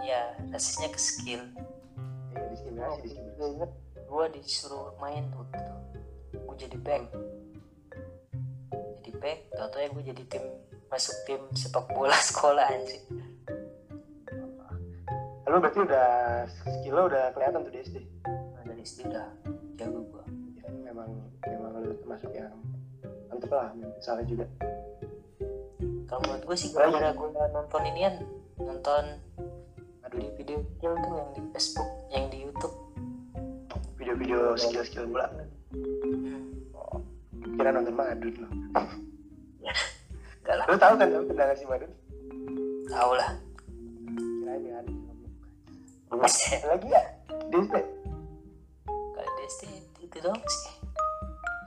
iya rasisnya ke skill eh, diskriminasi Oh, diskriminasi iya. gue disuruh main tuh gitu. gue jadi back jadi back tau ya gue jadi tim masuk tim sepak bola sekolah anjir lalu berarti udah skill lo udah kelihatan tuh di SD Nah, dari situ udah jago gue ya, kan memang memang lo termasuk yang mantep lah misalnya juga kalau menurut gue sih gara-gara gue nonton ini kan nonton aduh di video kecil tuh yang di Facebook yang di YouTube video-video skill-skill bola Hmm. Kira nonton Madun loh. Enggak lah, Lu tahu kan tapi kenangan si Madun? tau lah. Kirain ya ada. Ada Lagi ya? Disney. Kalau DST itu dong sih.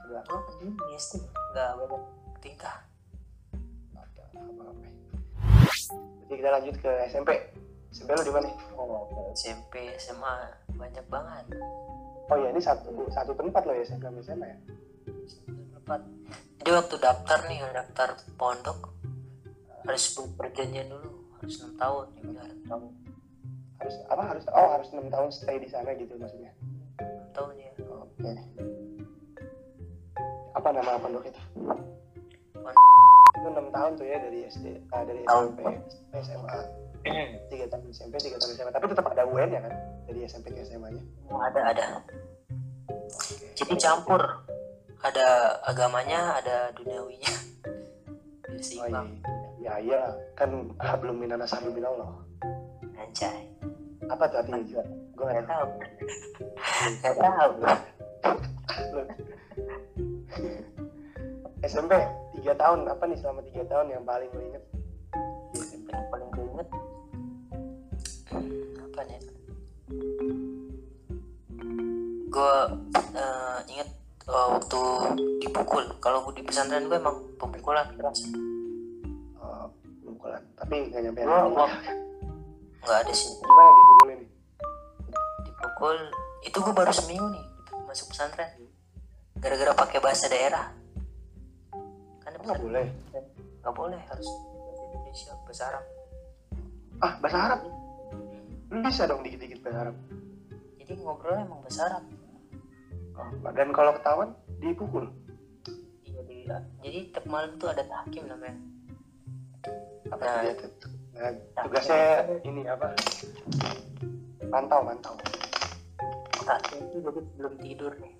Coba. Oh, ini DST nggak banyak tingkah. Ada apa-apa. Jadi kita lanjut ke SMP. SMP lu di mana? Oh, SMP, SMA banyak banget. oh ya ini satu satu tempat loh ya SMP sama SMA ya. Tempat. Jadi waktu daftar nih, daftar pondok harus buat perjanjian dulu, harus enam tahun, ya udah enam tahun, Harus apa harus oh harus enam tahun stay di sana gitu maksudnya. enam tahun ya. Oke. Apa nama pondok itu? Itu enam tahun tuh ya dari SD ah, dari Tahun. SMP SMA tiga tahun SMP tiga tahun SMA tapi tetap ada UN ya kan dari SMP ke SMA nya. ada ada. Jadi campur, ada agamanya, ada duniawinya. Biar Oh, iya. seimbang, Ya iya kan belum minana sahabu minallah. anjay. Apa tuh artinya juga? Gue Gak nggak tahu. tahu, gak tahu. SMP tiga tahun apa nih selama tiga tahun yang paling lo inget? Di SMP. yang paling gue inget hmm, apa nih gue inget eh, waktu dipukul kalau gue di pesantren gue emang pemukulan keras Oh, pemukulan. Tapi nggak nyampe. gue nggak ada sih Gimana dipukul ini? dipukul itu gue baru seminggu nih masuk pesantren gara-gara pakai bahasa daerah kan di Nggak pesantren boleh. nggak boleh harus bahasa Indonesia bahasa Arab Ah bahasa Arab. Lu bisa dong dikit-dikit bahasa Arab. jadi ngobrolnya emang bahasa Arab Oh, dan kalau ketahuan dipukul. Iya, di- jadi tiap malam tuh ada tahkim namanya Apa Nah. dia tuh? Nah, tugasnya ini apa? Mantau, mantau. tahkim itu jadi belum tidur nih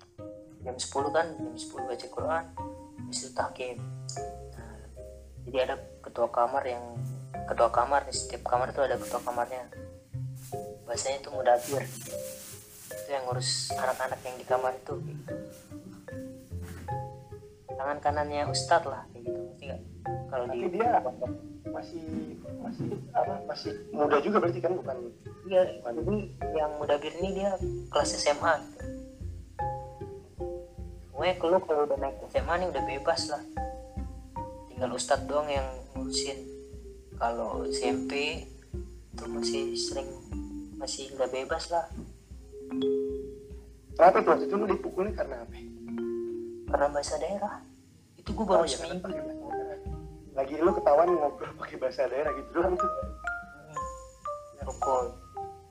jam 10 kan jam 10 baca Quran habis itu tahkim nah, jadi ada ketua kamar yang ketua kamar di setiap kamar itu ada ketua kamarnya bahasanya itu mudabir itu yang ngurus anak-anak yang di kamar itu kayak gitu. tangan kanannya ustadz lah kayak gitu ngerti nggak? kalau di Tapi dia- Masih masih apa? Masih muda juga berarti kan bukan Iya, jadi yang mudabir ini dia kelas SMA gitu. Pokoknya kalau kalau udah naik SMA nih udah bebas lah. Tinggal ustadz doang yang ngurusin. Kalau SMP itu masih sering masih nggak bebas lah Kenapa tuh waktu itu lu dipukulnya karena apa? karena bahasa daerah. Itu gue baru Oh, iya, seminggu. pakai bahasa daerah. Lagi lu ketahuan ngobrol pakai bahasa daerah gitu doang tuh. Rukun.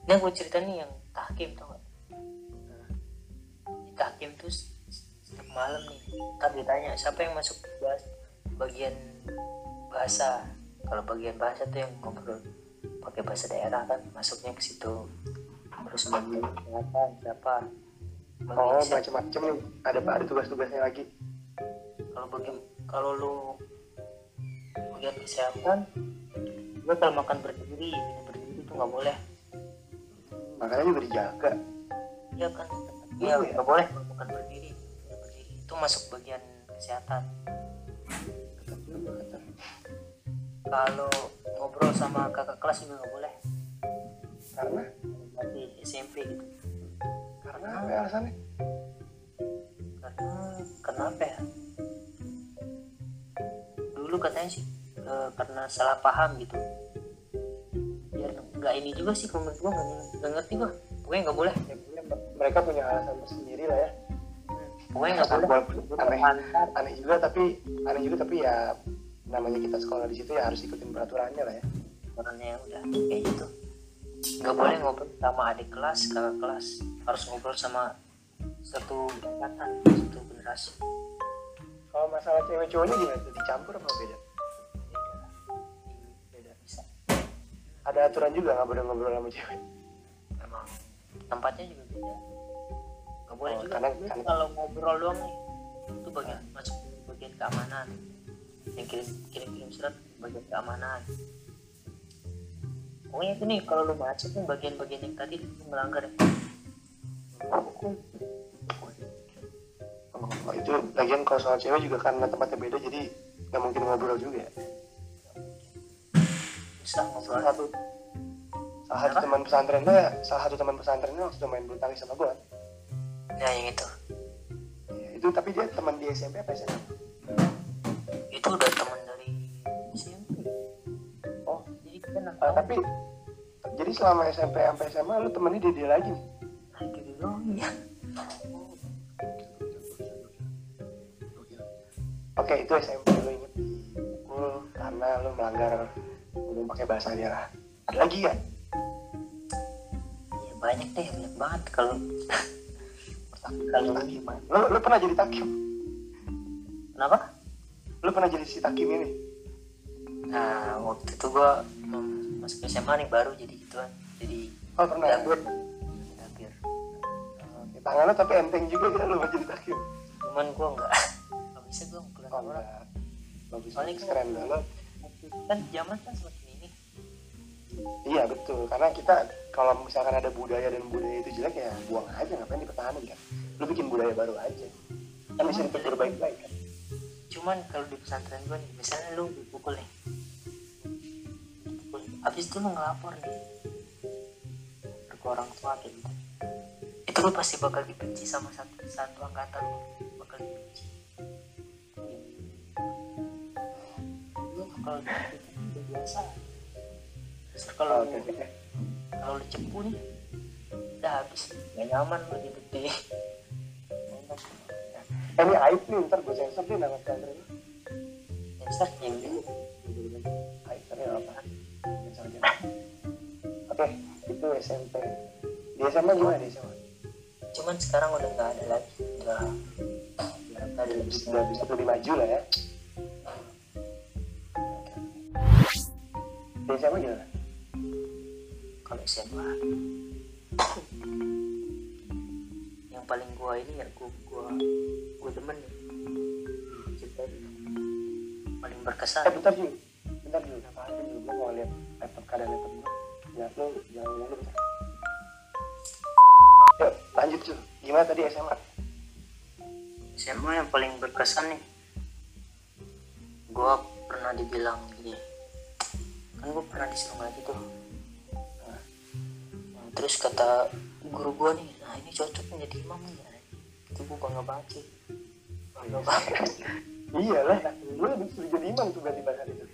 Ini gue Iya. cerita nih yang tahkim tau gak? Nah. Di tahkim tuh s- setiap malam nih kan ditanya siapa yang masuk bahas bagian bahasa. Kalau bagian bahasa tuh yang ngobrol pakai bahasa daerah kan masuknya ke situ. Terus bagian siapa siapa. Bagian Oh, siapa? macam-macam lu. Ada ada tugas-tugasnya lagi. kalau bagian kalau lu bagian kesehatan Kan, lu kalau makan berdiri minum berdiri itu nggak boleh Makanya juga dijaga. Iya kan? Iya, Iya, iya. nggak boleh bukan berdiri. Berdiri itu masuk bagian kesehatan. Kalau ngobrol sama kakak kelas juga nggak boleh. Karena Nanti SMP gitu. karena apa ya alasannya? Karena kenapa ya? Dulu katanya sih eh, karena salah paham gitu. Biar nggak ini juga sih kalau menurut gua nggak nggak ngerti gua. Pokoknya nggak boleh. Ya, punya- mereka punya alasan tersendiri lah ya. Pokoknya nggak boleh. Walaupun aneh, Antar aneh juga tapi aneh juga tapi ya namanya kita sekolah di situ ya harus ikutin peraturannya lah ya. orangnya udah kayak gitu nggak boleh ngobrol sama adik kelas kakak kelas harus ngobrol sama satu angkatan satu generasi Kalau masalah cewek cowoknya gimana? tuh? Dicampur apa beda? beda beda bisa Ada aturan juga nggak boleh ngobrol sama cewek. memang tempatnya juga beda nggak boleh Oh, juga karena- Lu karena- kalau ngobrol doang nih itu bagian masuk bagian keamanan yang kirim kirim kirim surat bagian keamanan pokoknya itu nih kalau lu masuk nih bagian-bagian yang tadi lu melanggar ya. hukum Wah, Oh, itu lagian kalau soal cewek juga karena tempatnya beda jadi nggak mungkin ngobrol juga ya? Bisa salah ngobrol. satu salah satu Kenapa? teman pesantrennya salah satu teman pesantrennya waktu itu main bulu tangkis sama gue Nah yang itu. Ya, itu tapi dia teman di SMP apa SMP Itu udah teman dari SMP. oh Jadi kita nak eh, tapi jadi selama SMP sampai SMA lu temennya dia, dia lagi nih lagi di ya. oke itu SMP lu inget dipukul karena lu melanggar belum pakai bahasanya lah ada lagi ya Ya, banyak deh banyak banget kalau kalau takim lu, lu pernah jadi takim kenapa? lu pernah jadi si takim ini Nah waktu itu gua hmm, masuk SMA nih baru jadi gituan. Jadi oh pernah dapur. Dapur. Oke, tangan lu tapi enteng juga ya lu jadi takim eh, Cuman gua enggak. Gak bisa gua ngelakuin oh orang. enggak bagus Soalnya bagus, keren dah lu Kan zaman kan semakin ini. Iya betul, karena kita kalau misalkan ada budaya dan budaya itu jelek ya buang aja, ngapain dipertahankan kan? Lu bikin budaya baru aja, kan bisa diperbaiki baik kan? cuman kalau di pesantren gue nih misalnya lu dipukul nih Dipukul. abis itu lu ngelapor nih Lapor ke orang tua kayak gitu itu lu pasti bakal dibenci sama satu satu angkatan lu bakal dibenci lu kalau dipukul udah biasa Terus kalau Oke, oke. kalau lu cepu nih udah habis gak nyaman lu hidup di Enak. Eh, ini aib nih, ntar gue sensor deh nama pesantren ini. Gangster, ya udah. Aib tapi nggak apa? Sensor aja. Oke, itu SMP. Di SMA gimana di SMA? cuman sekarang udah nggak ada lagi udah Ya, tadi lebih udah bisa lebih maju lah ya. Di SMA gimana? kalau SMA yang paling gua ini ya gua gua gua demen ya cerita ini. paling berkesan Eh bentar dulu, bentar dulu. Apaan dulu? Gue mau lihat laptop keadaan laptop gue. Ya lu jangan dulu bentar. Yuk, lanjut cuy. Gimana tadi SMA? SMA yang paling berkesan nih gua pernah dibilang gini kan gua pernah disuruh ngaji tuh Nah, terus kata guru gua nih nah ini cocok menjadi imam nih Nah, itu gua bangga banget sih bangga banget Iya lah, lu disuruh jadi imam tuh berarti bahasa itu.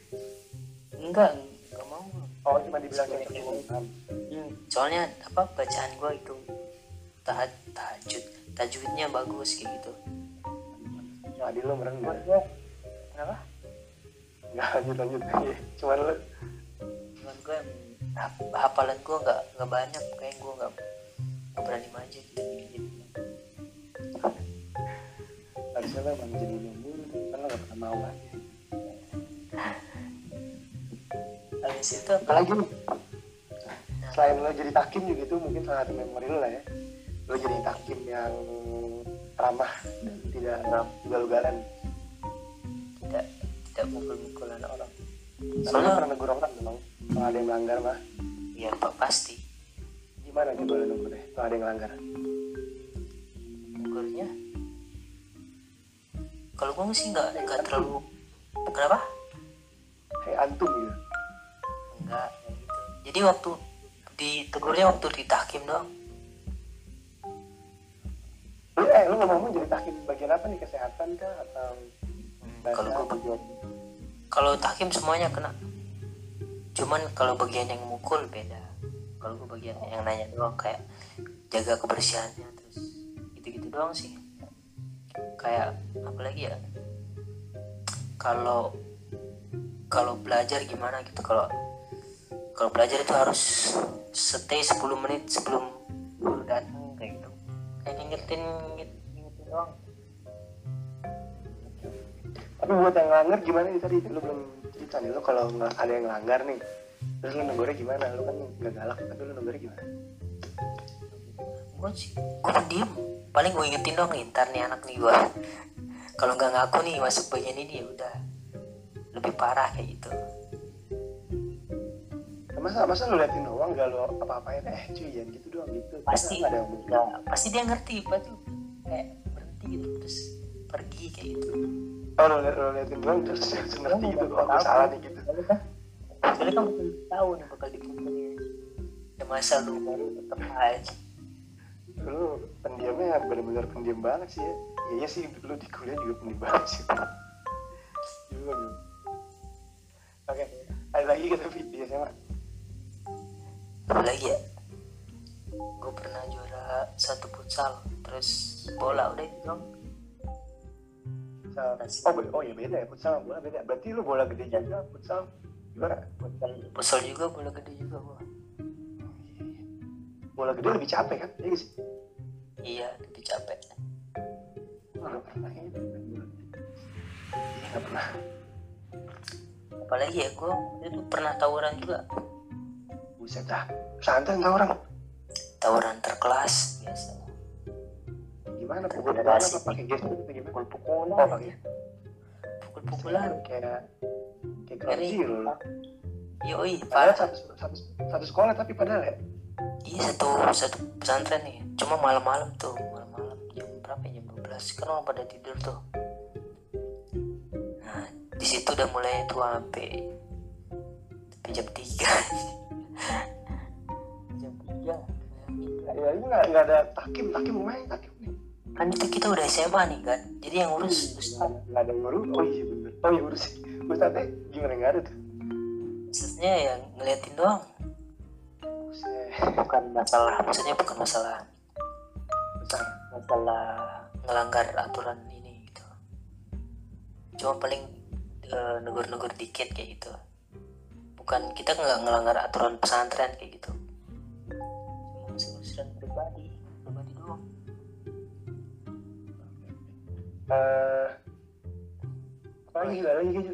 enggak enggak mau gua. Oh cuma dibilang cocok jadi imam. Hmm, soalnya apa bacaan gua itu tahaj tahajud tajwidnya bagus kayak gitu Nah, di lu merendah. kenapa Nggak lanjut lanjut. Iya, Cuman lu cuman gue hafalan gue nggak nggak banyak kayak gue nggak nggak berani maju gitu harusnya lu emang jadi imam dulu, kan lu nggak pernah mau kan? habis itu Apalagi lu, selain lu jadi takim juga itu mungkin salah satu memori lu lah ya. Lu jadi takim yang ramah dan tidak ugal-ugalan. tidak tidak mukul-mukulan orang Soalnya soalnya pernah negur orang memang kalau ada yang melanggar mah ya pak pasti gimana coba lu nunggu deh kalau ada yang melanggar mukulnya kalau gue sih nggak nggak terlalu kenapa hei antum gitu enggak kayak gitu jadi waktu ditegurnya waktu ditahkim doang lu eh lu ngomong-ngomong jadi takim bagian apa nih kesehatan kah atau kalau bahasa gue bagian kalau tahkim semuanya kena cuman kalau bagian yang mukul beda kalau gue bagian yang nanya doang kayak jaga kebersihannya terus gitu gitu doang sih kayak apa lagi ya kalau kalau belajar gimana gitu kalau kalau belajar itu harus stay 10 menit sebelum guru datang kayak gitu kayak ngingetin ngingetin, ngingetin doang tapi buat yang melanggar gimana nih tadi lu belum cerita nih lu kalau nggak ada yang melanggar nih terus lu nenggurnya gimana lu kan nggak galak tapi lu nenggurnya gimana gue sih gue diem paling gue ingetin dong ntar nih anak nih gue kalau nggak ngaku nih masuk bagian ini ya udah lebih parah kayak gitu Ya, masa masa lu liatin doang gak lu apa-apain eh cuy jangan gitu doang gitu Masa pasti nggak ada yang nggak pasti dia ngerti pak tuh kayak berhenti gitu terus pas pergi kayak gitu oh lu liat- lu liatin doang terus langsung ngerti gitu oh gue salah nih gitu Soalnya kan- soalnya kan belum tahu nih bakal dipukulnya ya masa lu baru tetep aja lu pendiamnya bener-bener pendiam banget sih ya Ya iya sih lu di kuliah juga pendiam banget sih Juga, gitu. oke ada lagi ya, ke tapi biasanya Mak. apa lagi ya gue pernah juara satu futsal terus bola udah gitu dong Futsal. oh, be- oh ya beda ya futsal sama bola beda berarti lu bola gede juga futsal juara futsal futsal juga bola gede juga gua bola gede lebih capek kan iya nggak sih iya lebih capek Gua nggak pernah ini Iya, nggak pernah apalagi ya gue itu pernah tawuran juga buset dah santai nggak orang tawuran terkelas biasa gimana Tapi pukul ada pukulan asik. apa pakai gestur gitu gimana pukul pukulan Oh, pakai- pukul-pukulan kayak kayak ground Ngeri. zero lu. yoi Padahal parah satu, satu, satu sekolah tapi padahal ya iya satu satu pesantren nih cuma malam-malam tuh malam-malam jam berapa ya? jam 12 kan orang pada tidur tuh nah di situ udah mulai tuh sampai sampai jam 3 jam 3 ya ini nggak nggak ada takim takim main takim nih kan itu kita udah SMA nih kan jadi yang urus nggak ustaz ada- nggak ada ngurus oh iya bener oh iya urus ustadz eh gimana nggak ada tuh ustaznya yang ya, ngeliatin doang Buset. bukan masalah maksudnya bukan masalah Ustadz, masalah ngelanggar aturan ini gitu cuma paling eh, negur-negur dikit kayak gitu bukan kita nggak ngelanggar aturan pesantren kayak gitu cuma masih urusan pribadi pribadi doang eh, apa lagi nggak ada lagi gitu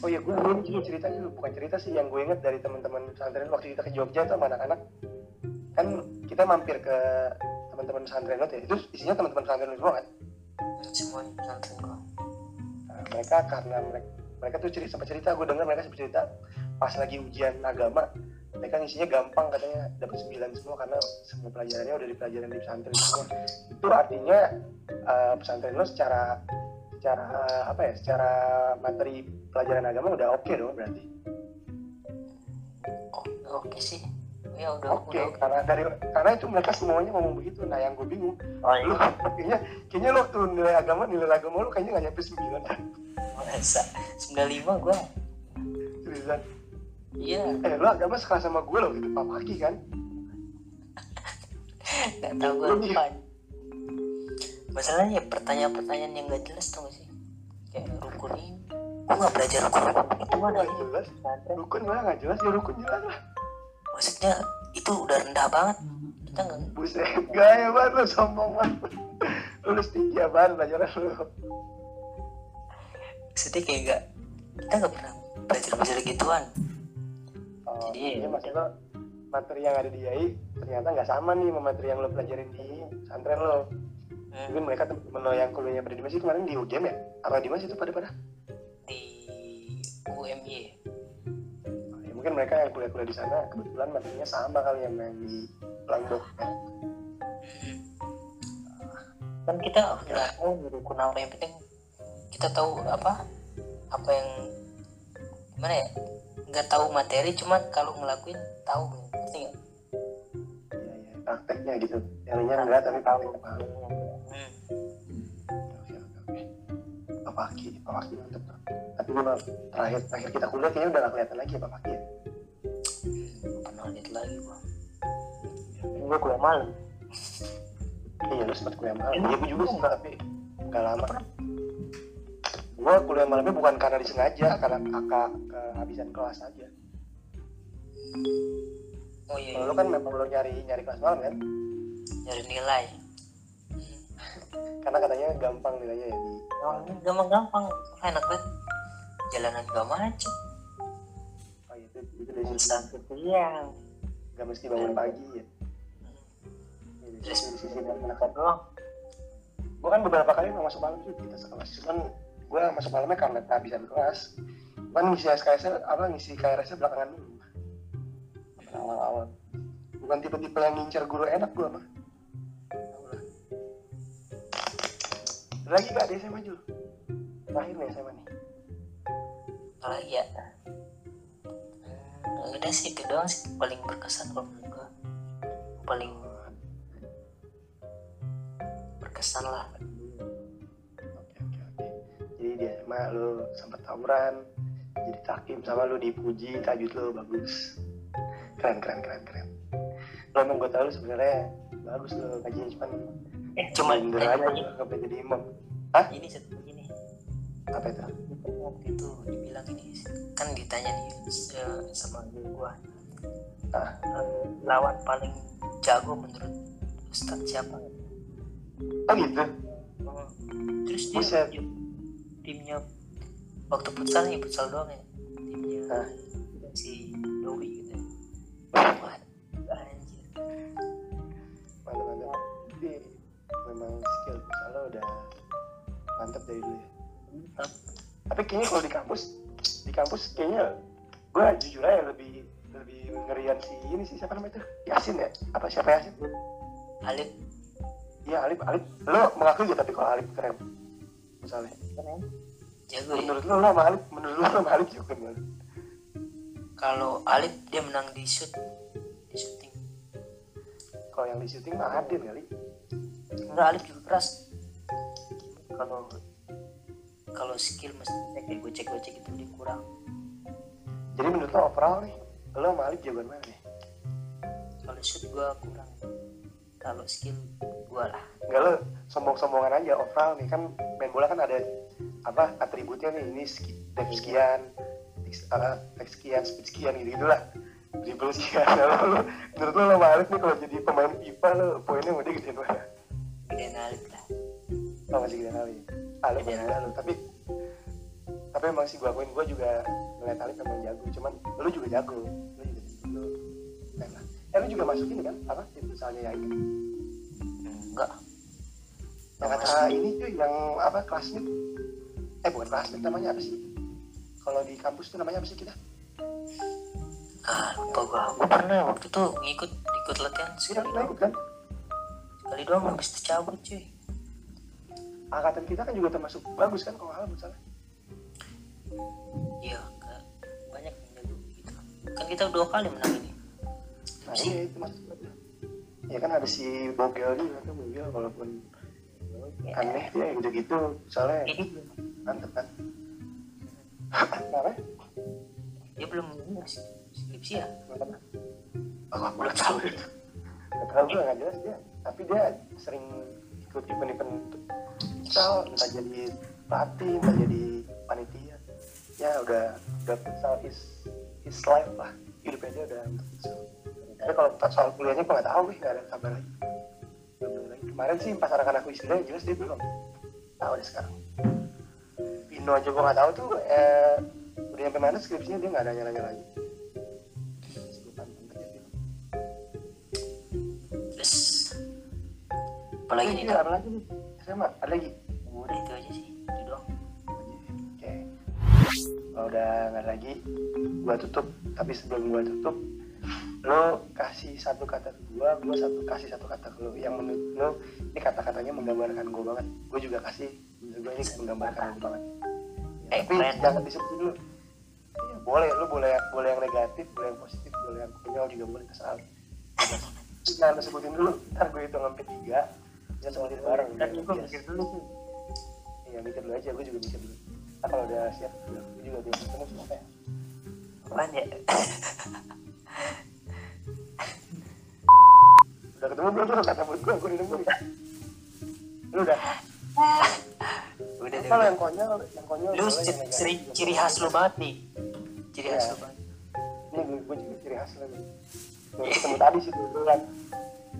oh iya gue belum juga ceritanya lu bukan cerita sih yang gue inget dari teman-teman pesantren waktu kita ke Jogja tuh sama anak-anak kan kita mampir ke teman-teman pesantren lo tuh ya. terus isinya teman-teman pesantren lo semua kan Hmm, semuanya pesantren gua Nah, mereka karena mereka, mereka tuh cerita sempat cerita gue dengar mereka sempat cerita pas lagi ujian agama mereka ngisinya gampang katanya dapat 9 semua karena semua pelajarannya udah di pelajaran di pesantren semua itu artinya eh, pesantren lo secara secara eh, apa ya secara materi pelajaran agama udah oke dong berarti oh, oke sih ya udah oke udah karena dari karena itu mereka semuanya ngomong begitu nah yang gue bingung oh, lu kayaknya kayaknya lo tuh nilai agama nilai agama lu kayaknya nggak nyampe 9 masa 95 gua seriusan iya eh lo agama sekelas sama gue loh gitu pagi kan nggak tahu gua lupa masalahnya ya pertanyaan-pertanyaan yang gak jelas tuh nggak sih kayak rukun ini gua nggak belajar rukun itu mana nggak ya jelas pesantren. rukun malah nggak jelas ya rukun jelas lah maksudnya itu udah rendah banget kita nggak buset gaya banget lu sombong banget lulus tinggi apaan pelajaran lu maksudnya kayak nggak kita nggak pernah belajar belajar gituan oh, Jadi- jadi maksud lo materi yang ada di IAI ternyata nggak sama nih sama materi yang lo pelajarin di pesantren lo Hmm, mungkin mereka temen lo yang kuliahnya pada Dimas itu kemarin di UGM ya apa Dimas itu pada pada di UMY ya, mungkin mereka yang kuliah-kuliah di sana kebetulan materinya sama kali yang yang di Langbok Hmm. kan kita nggak tahu rukun apa yang penting kita tahu apa apa yang gimana ya nggak tahu materi cuman kalau ngelakuin tahu ngerti nggak Iya, iya, prakteknya gitu teorinya enggak tapi prakteknya paham Hmm. Oke, oke, oke. Pak Paki, Pak Paki mantep. Pak. Tapi memang terakhir terakhir kita kuliah kayaknya udah gak kelihatan lagi ya Pak Paki. ya? Hmm, pernah lihat lagi gua Gue kuliah malam. Iya, lu sempet kuliah malam. Iya, gue juga sih, tapi gak lama. Gue kuliah malamnya bukan karena disengaja, karena kakak kehabisan kelas aja. oh iya, Kalau iya. lu kan memang lo nyari nyari kelas malam kan, nyari nilai Hmm. karena katanya gampang nilainya ya di. Nah, ini gampang-gampang enak banget jalanan gak macet Oh iya, itu itu dari sisi bisa siang gak mesti bangun pagi ya. Iya, Dari sisi dari sisi yang menekan doang gue kan beberapa kali mau masuk malam tuh kita sekelas cuman gue masuk malamnya karena kehabisan kelas kan ngisi SKS -nya, apa ngisi KRS -nya belakangan dulu awal-awal bukan tipe-tipe yang ngincer guru enak gue mah Tau lah. lagi gak di SMA Jul terakhir nih SMA nih apalagi ya hmm, udah sih itu doang sih paling berkesan kalau menurut gua paling berkesan lah oke oke oke jadi di SMA lu sempat tawuran jadi takim sama lu dipuji tajud lu bagus keren keren keren keren lu emang gue tau lu sebenarnya bagus lu ngajinya cuman eh cuma minder aja ini nggak pengen jadi imam ini satu ini apa itu waktu itu dibilang ini kan ditanya nih se- sama guru gua Ah. Eh, lawan paling jago menurut Ustadz siapa oh gitu Hmm. terus Buset. dia timnya waktu futsal ya futsal doang ya timnya Ah. si Dowi gitu Wah, anjir mantap mantap jadi memang skill futsal lo udah mantap dari dulu ya Mantap. tapi kayaknya kalau di kampus di kampus kayaknya gue jujur aja lebih lebih ngerian si ini sih siapa namanya itu Yasin ya apa siapa Yasin Alif iya Alif Alif lo mengakui gak tapi kalau Alif keren misalnya keren jago ya menurut lo lo sama Alif menurut lo sama Alif juga keren kalau Alif dia menang di shoot di shooting kalau yang di syuting mah Adin kali enggak Alif juga keras kalau kalau skill mesti ya, kayak gocek-gocek itu dia kurang jadi menurut lo overall nih lo sama Alif jagoan mana nih kalau shoot gua kurang kalau skill gua lah Enggak lo sombong-sombongan aja overall nih kan main bola kan ada apa atributnya nih ini ski, depth sekian, tek- apa, tek sekian, speed sekian gitu gitu lah. Dribble sekian. Nah, lo, lo- menurut lo lo Malik nih kalau jadi pemain IPA lo poinnya udah gede mana? gedean Alif lah Lo masih gede kali. Ah, lo masih gede lo. Tapi tapi emang sih gua akuin gua juga ngeliat Alif emang jago. Cuman lo juga jago. Lo juga jago. Keren lah. Eh lo juga masukin kan apa tim misalnya ya ini. enggak Yang kata ini cuy yang apa klasnik eh bukan klasnik namanya apa sih kalau di kampus tuh namanya apa sih kita ah lupa gua gua pernah waktu itu ngikut ikut latihan kita sekali kita doang ikut kan sekali doang habis itu cabut cuy angkatan kita kan juga termasuk bagus kan kalau hal misalnya iya Kak. banyak yang jago gitu kan kita dua kali menang ini nah iya itu maksud gue tuh. ya kan ada si bogel juga kan bogel walaupun aneh dia gitu gitu soalnya ini mantep kan apa dia belum lulus skripsi ya Kenapa? Oh, aku udah tahu itu. Gak tahu gue nggak jelas dia. Tapi dia sering ikut event-event futsal, entah jadi pelatih, entah jadi panitia. Ya udah, udah futsal is is life lah. Hidupnya dia udah untuk futsal. Tapi kalau tak soal kuliahnya gue nggak tahu, gue nggak ada kabar lagi. Belum dengar lagi. Kemarin sih pas saran aku istrinya jelas dia belum. Tahu deh sekarang. Pino aja gue nggak tahu tuh. Eh, udah nyampe mana skripsinya dia nggak ada nyala-nyala lagi. terus apalagi nih Iya, Kak? apa lagi nih? SMA, ada lagi. udah itu aja sih itu doang Oke. Kalau udah nggak ada lagi, gua tutup. Tapi sebelum gua tutup, lo kasih satu kata ke gua, gua satu kasih satu kata ke lo. Yang menurut lo, ini kata-katanya menggambarkan gua banget. Gua juga kasih, menurut gua ini menggambarkan gua banget. Ya, Eh, tapi keren. jangan disebutin dulu. Iya, boleh, lo boleh boleh yang negatif, boleh yang positif, boleh yang konyol juga boleh terserah. lo. Jangan lo sebutin dulu, ntar gue hitung sampai tiga, kita sebutin bareng. kan biar gua bias. mikir dulu tuh Iya mikir dulu aja, gue juga mikir dulu. Nah, kalau udah siap, gue juga udah ketemu sama apa ya? apaan ya Udah ketemu belum tuh kata buat gue, gue udah nemu nih. Lu udah, udah deh kalau udah. yang konyol, yang konyol lu boleh, yang ciri- negatif ciri- juga ciri boleh. khas lu banget nih ciri khas Iya. lu banget Ini gue, gue juga ciri khas lu nih. Gue ketemu tadi sih kebetulan.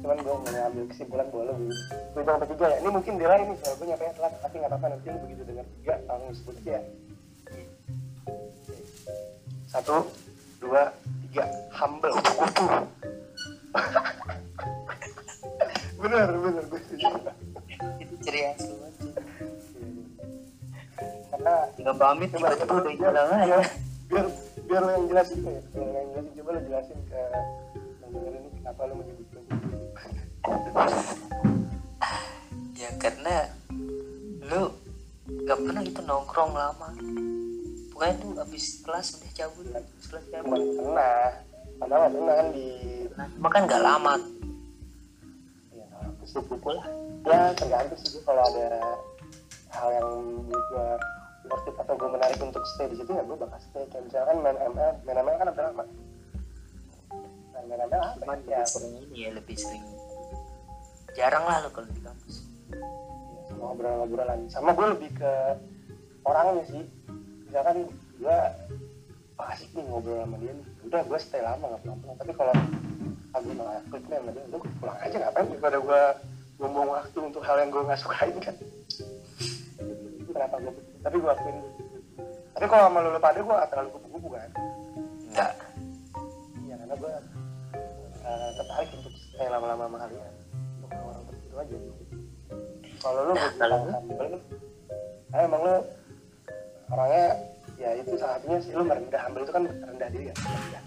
Cuman gue mau ambil kesimpulan bahwa lu gitu. Gue bilang ketiga ya, ini mungkin dia ini soal gue nyampe telat, tapi nggak apa-apa nanti lu begitu dengar tiga, langsung sebut aja ya. Satu, dua, tiga, humble. bener, bener, gue setuju. itu ciri khas lu banget cuy. karena nggak pamit coba tiba-tiba udah biar, hilang aja biar, biar, biar lo yang jelasin deh biar lo yang jelasin coba lo jelasin ke yang denger ini kenapa lo menyebut gue ya karena lu gitu nongkrong lama pokoknya tuh habis kelas udah cabut habis kelas cabut Cuman Kan pernah, padahal nggak pernah kan di nah, cuma kan nggak lama ya, sepupu lah. Ya tergantung sih gua kalau ada hal yang gue worth it atau gue menarik untuk stay di situ ya gue bakal stay. Kayak misalkan main ML, main ML kan udah lama. Nah, main ML apa cuman ya? lebih sering ini ya lebih sering jarang lah lo kalau di kampus Iya, sama obrolan-obrolan sama gue lebih ke orangnya sih misalkan gue asik nih ngobrol sama dia nih udah gue stay lama nggak pulang pulang tapi kalau aku nggak klik nih sama dia udah gua pulang aja ngapain daripada gue ngomong waktu untuk hal yang gue nggak sukain kan Itu kenapa gue tapi gue akuin tapi kalau sama lu pada gue nggak terlalu kupu-kupu kan enggak ya karena gue eh, tertarik untuk stay lama-lama sama kalian untuk orang tertentu aja gitu kalau Nah, lu begitu kalau kan, lu nah, emang lu orangnya ya itu salah satunya sih lu merendah humble itu kan rendah diri kan rendah.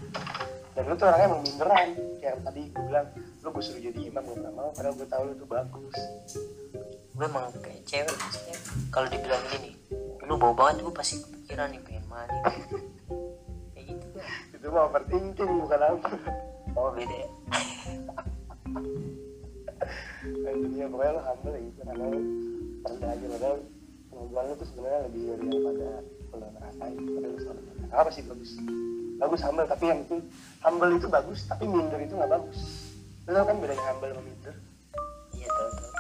dan lu tuh orangnya emang minderan kayak tadi gue bilang lu gue suruh jadi imam gue gak mau padahal gue tahu lu tuh bagus gue emang kayak cewek maksudnya kalau dibilang gini lu bau banget gue pasti kepikiran nih pengen mandi kayak gitu kan itu mah overthinking bukan apa oh beda ya intinya pokoknya lu humble ya gitu karena lu rendah aja padahal kemampuan lu tuh sebenarnya lebih dari daripada lu ngerasain padahal lu selalu rendah. apa sih bagus bagus humble tapi yang itu humble itu bagus tapi minder itu nggak bagus lu tau kan bedanya humble sama minder iya tau tau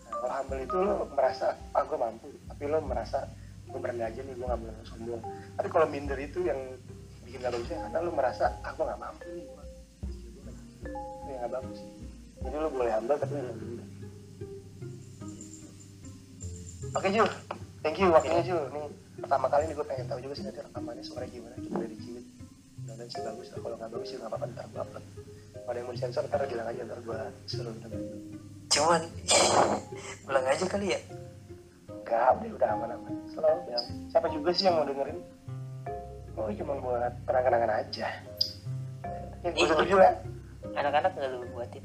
Nah, kalau humble itu lo merasa ah gue mampu tapi lo merasa gue merendah aja nih gue nggak boleh sombong tapi kalau minder itu yang bikin gak bagusnya karena lo merasa ah gue nggak mampu nih gue itu yang nggak bagus jadi lo boleh humble tapi lo minder oke Jul thank you waktunya Jul nih pertama kali nih gue pengen tahu juga sih nanti rekamannya suara gimana kita dari cilik dan sih bagus lah kalau nggak bagus sih nggak apa-apa ntar gue upload kalau ada yang mau disensor ntar bilang aja ntar gue suruh temen cuman pulang aja kali ya Enggak, udah udah aman aman. Selalu bilang. Siapa juga sih yang mau dengerin? Oh, cuma buat kenang-kenangan aja. Yang gue Iya. setuju kan? anak-anak nggak lu buatin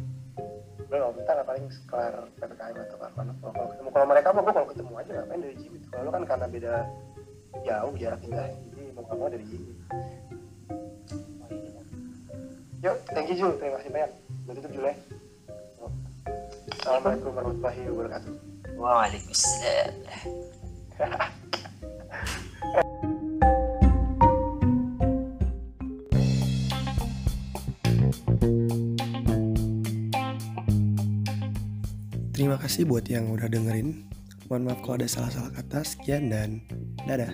Belum, ntar lah paling kelar PPKM atau kelar mana. Kalau kalau ketemu, kalau mereka mah gue kalau ketemu aja ngapain dari Jimmy. Kalau lu kan karena beda jauh jarak tinggalnya, jadi mau nggak mau dari Jimmy. Yuk, thank you Jul, terima kasih banyak. Gue tutup Jul ya. Yuk. Assalamualaikum warahmatullahi wabarakatuh. waalaikumsalam Terima kasih buat yang udah dengerin. Mohon maaf kalau ada salah-salah kata. Sekian dan dadah.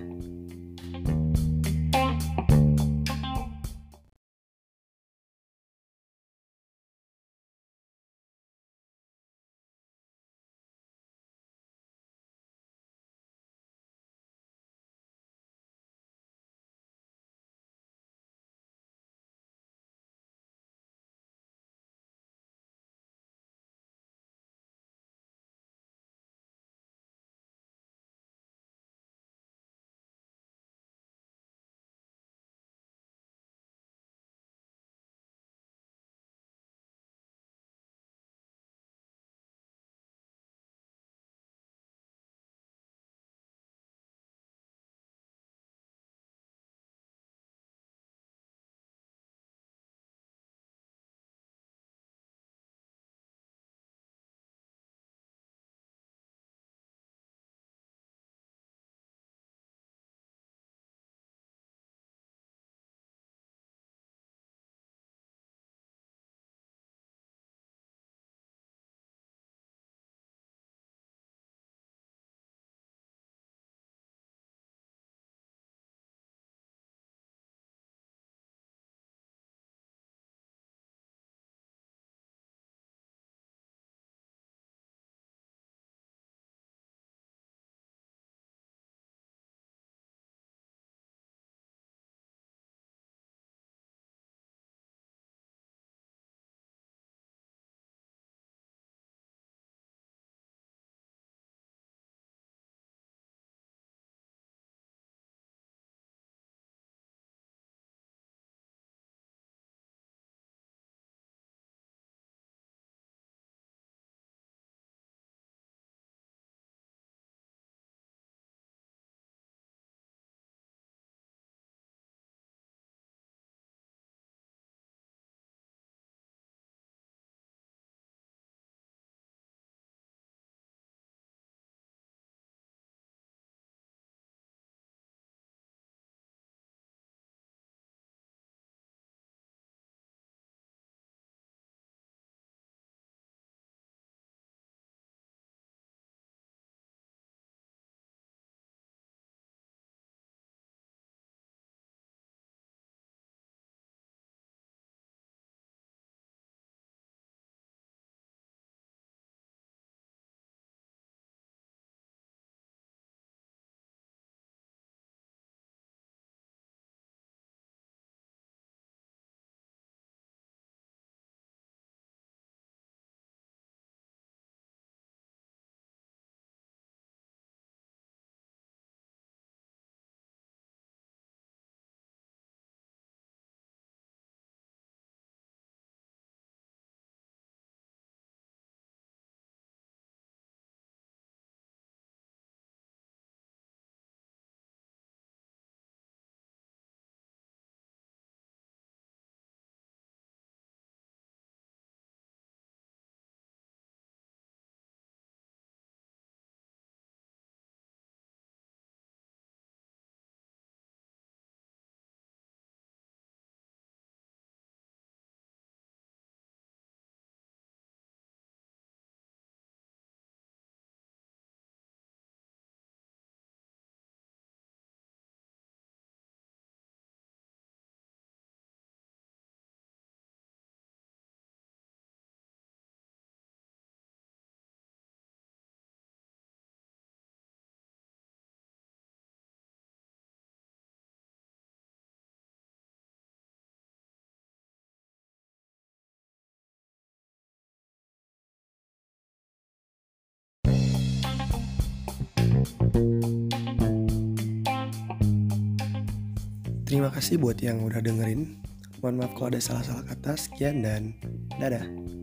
Terima kasih buat yang udah dengerin. Mohon maaf kalau ada salah-salah kata. Sekian dan dadah.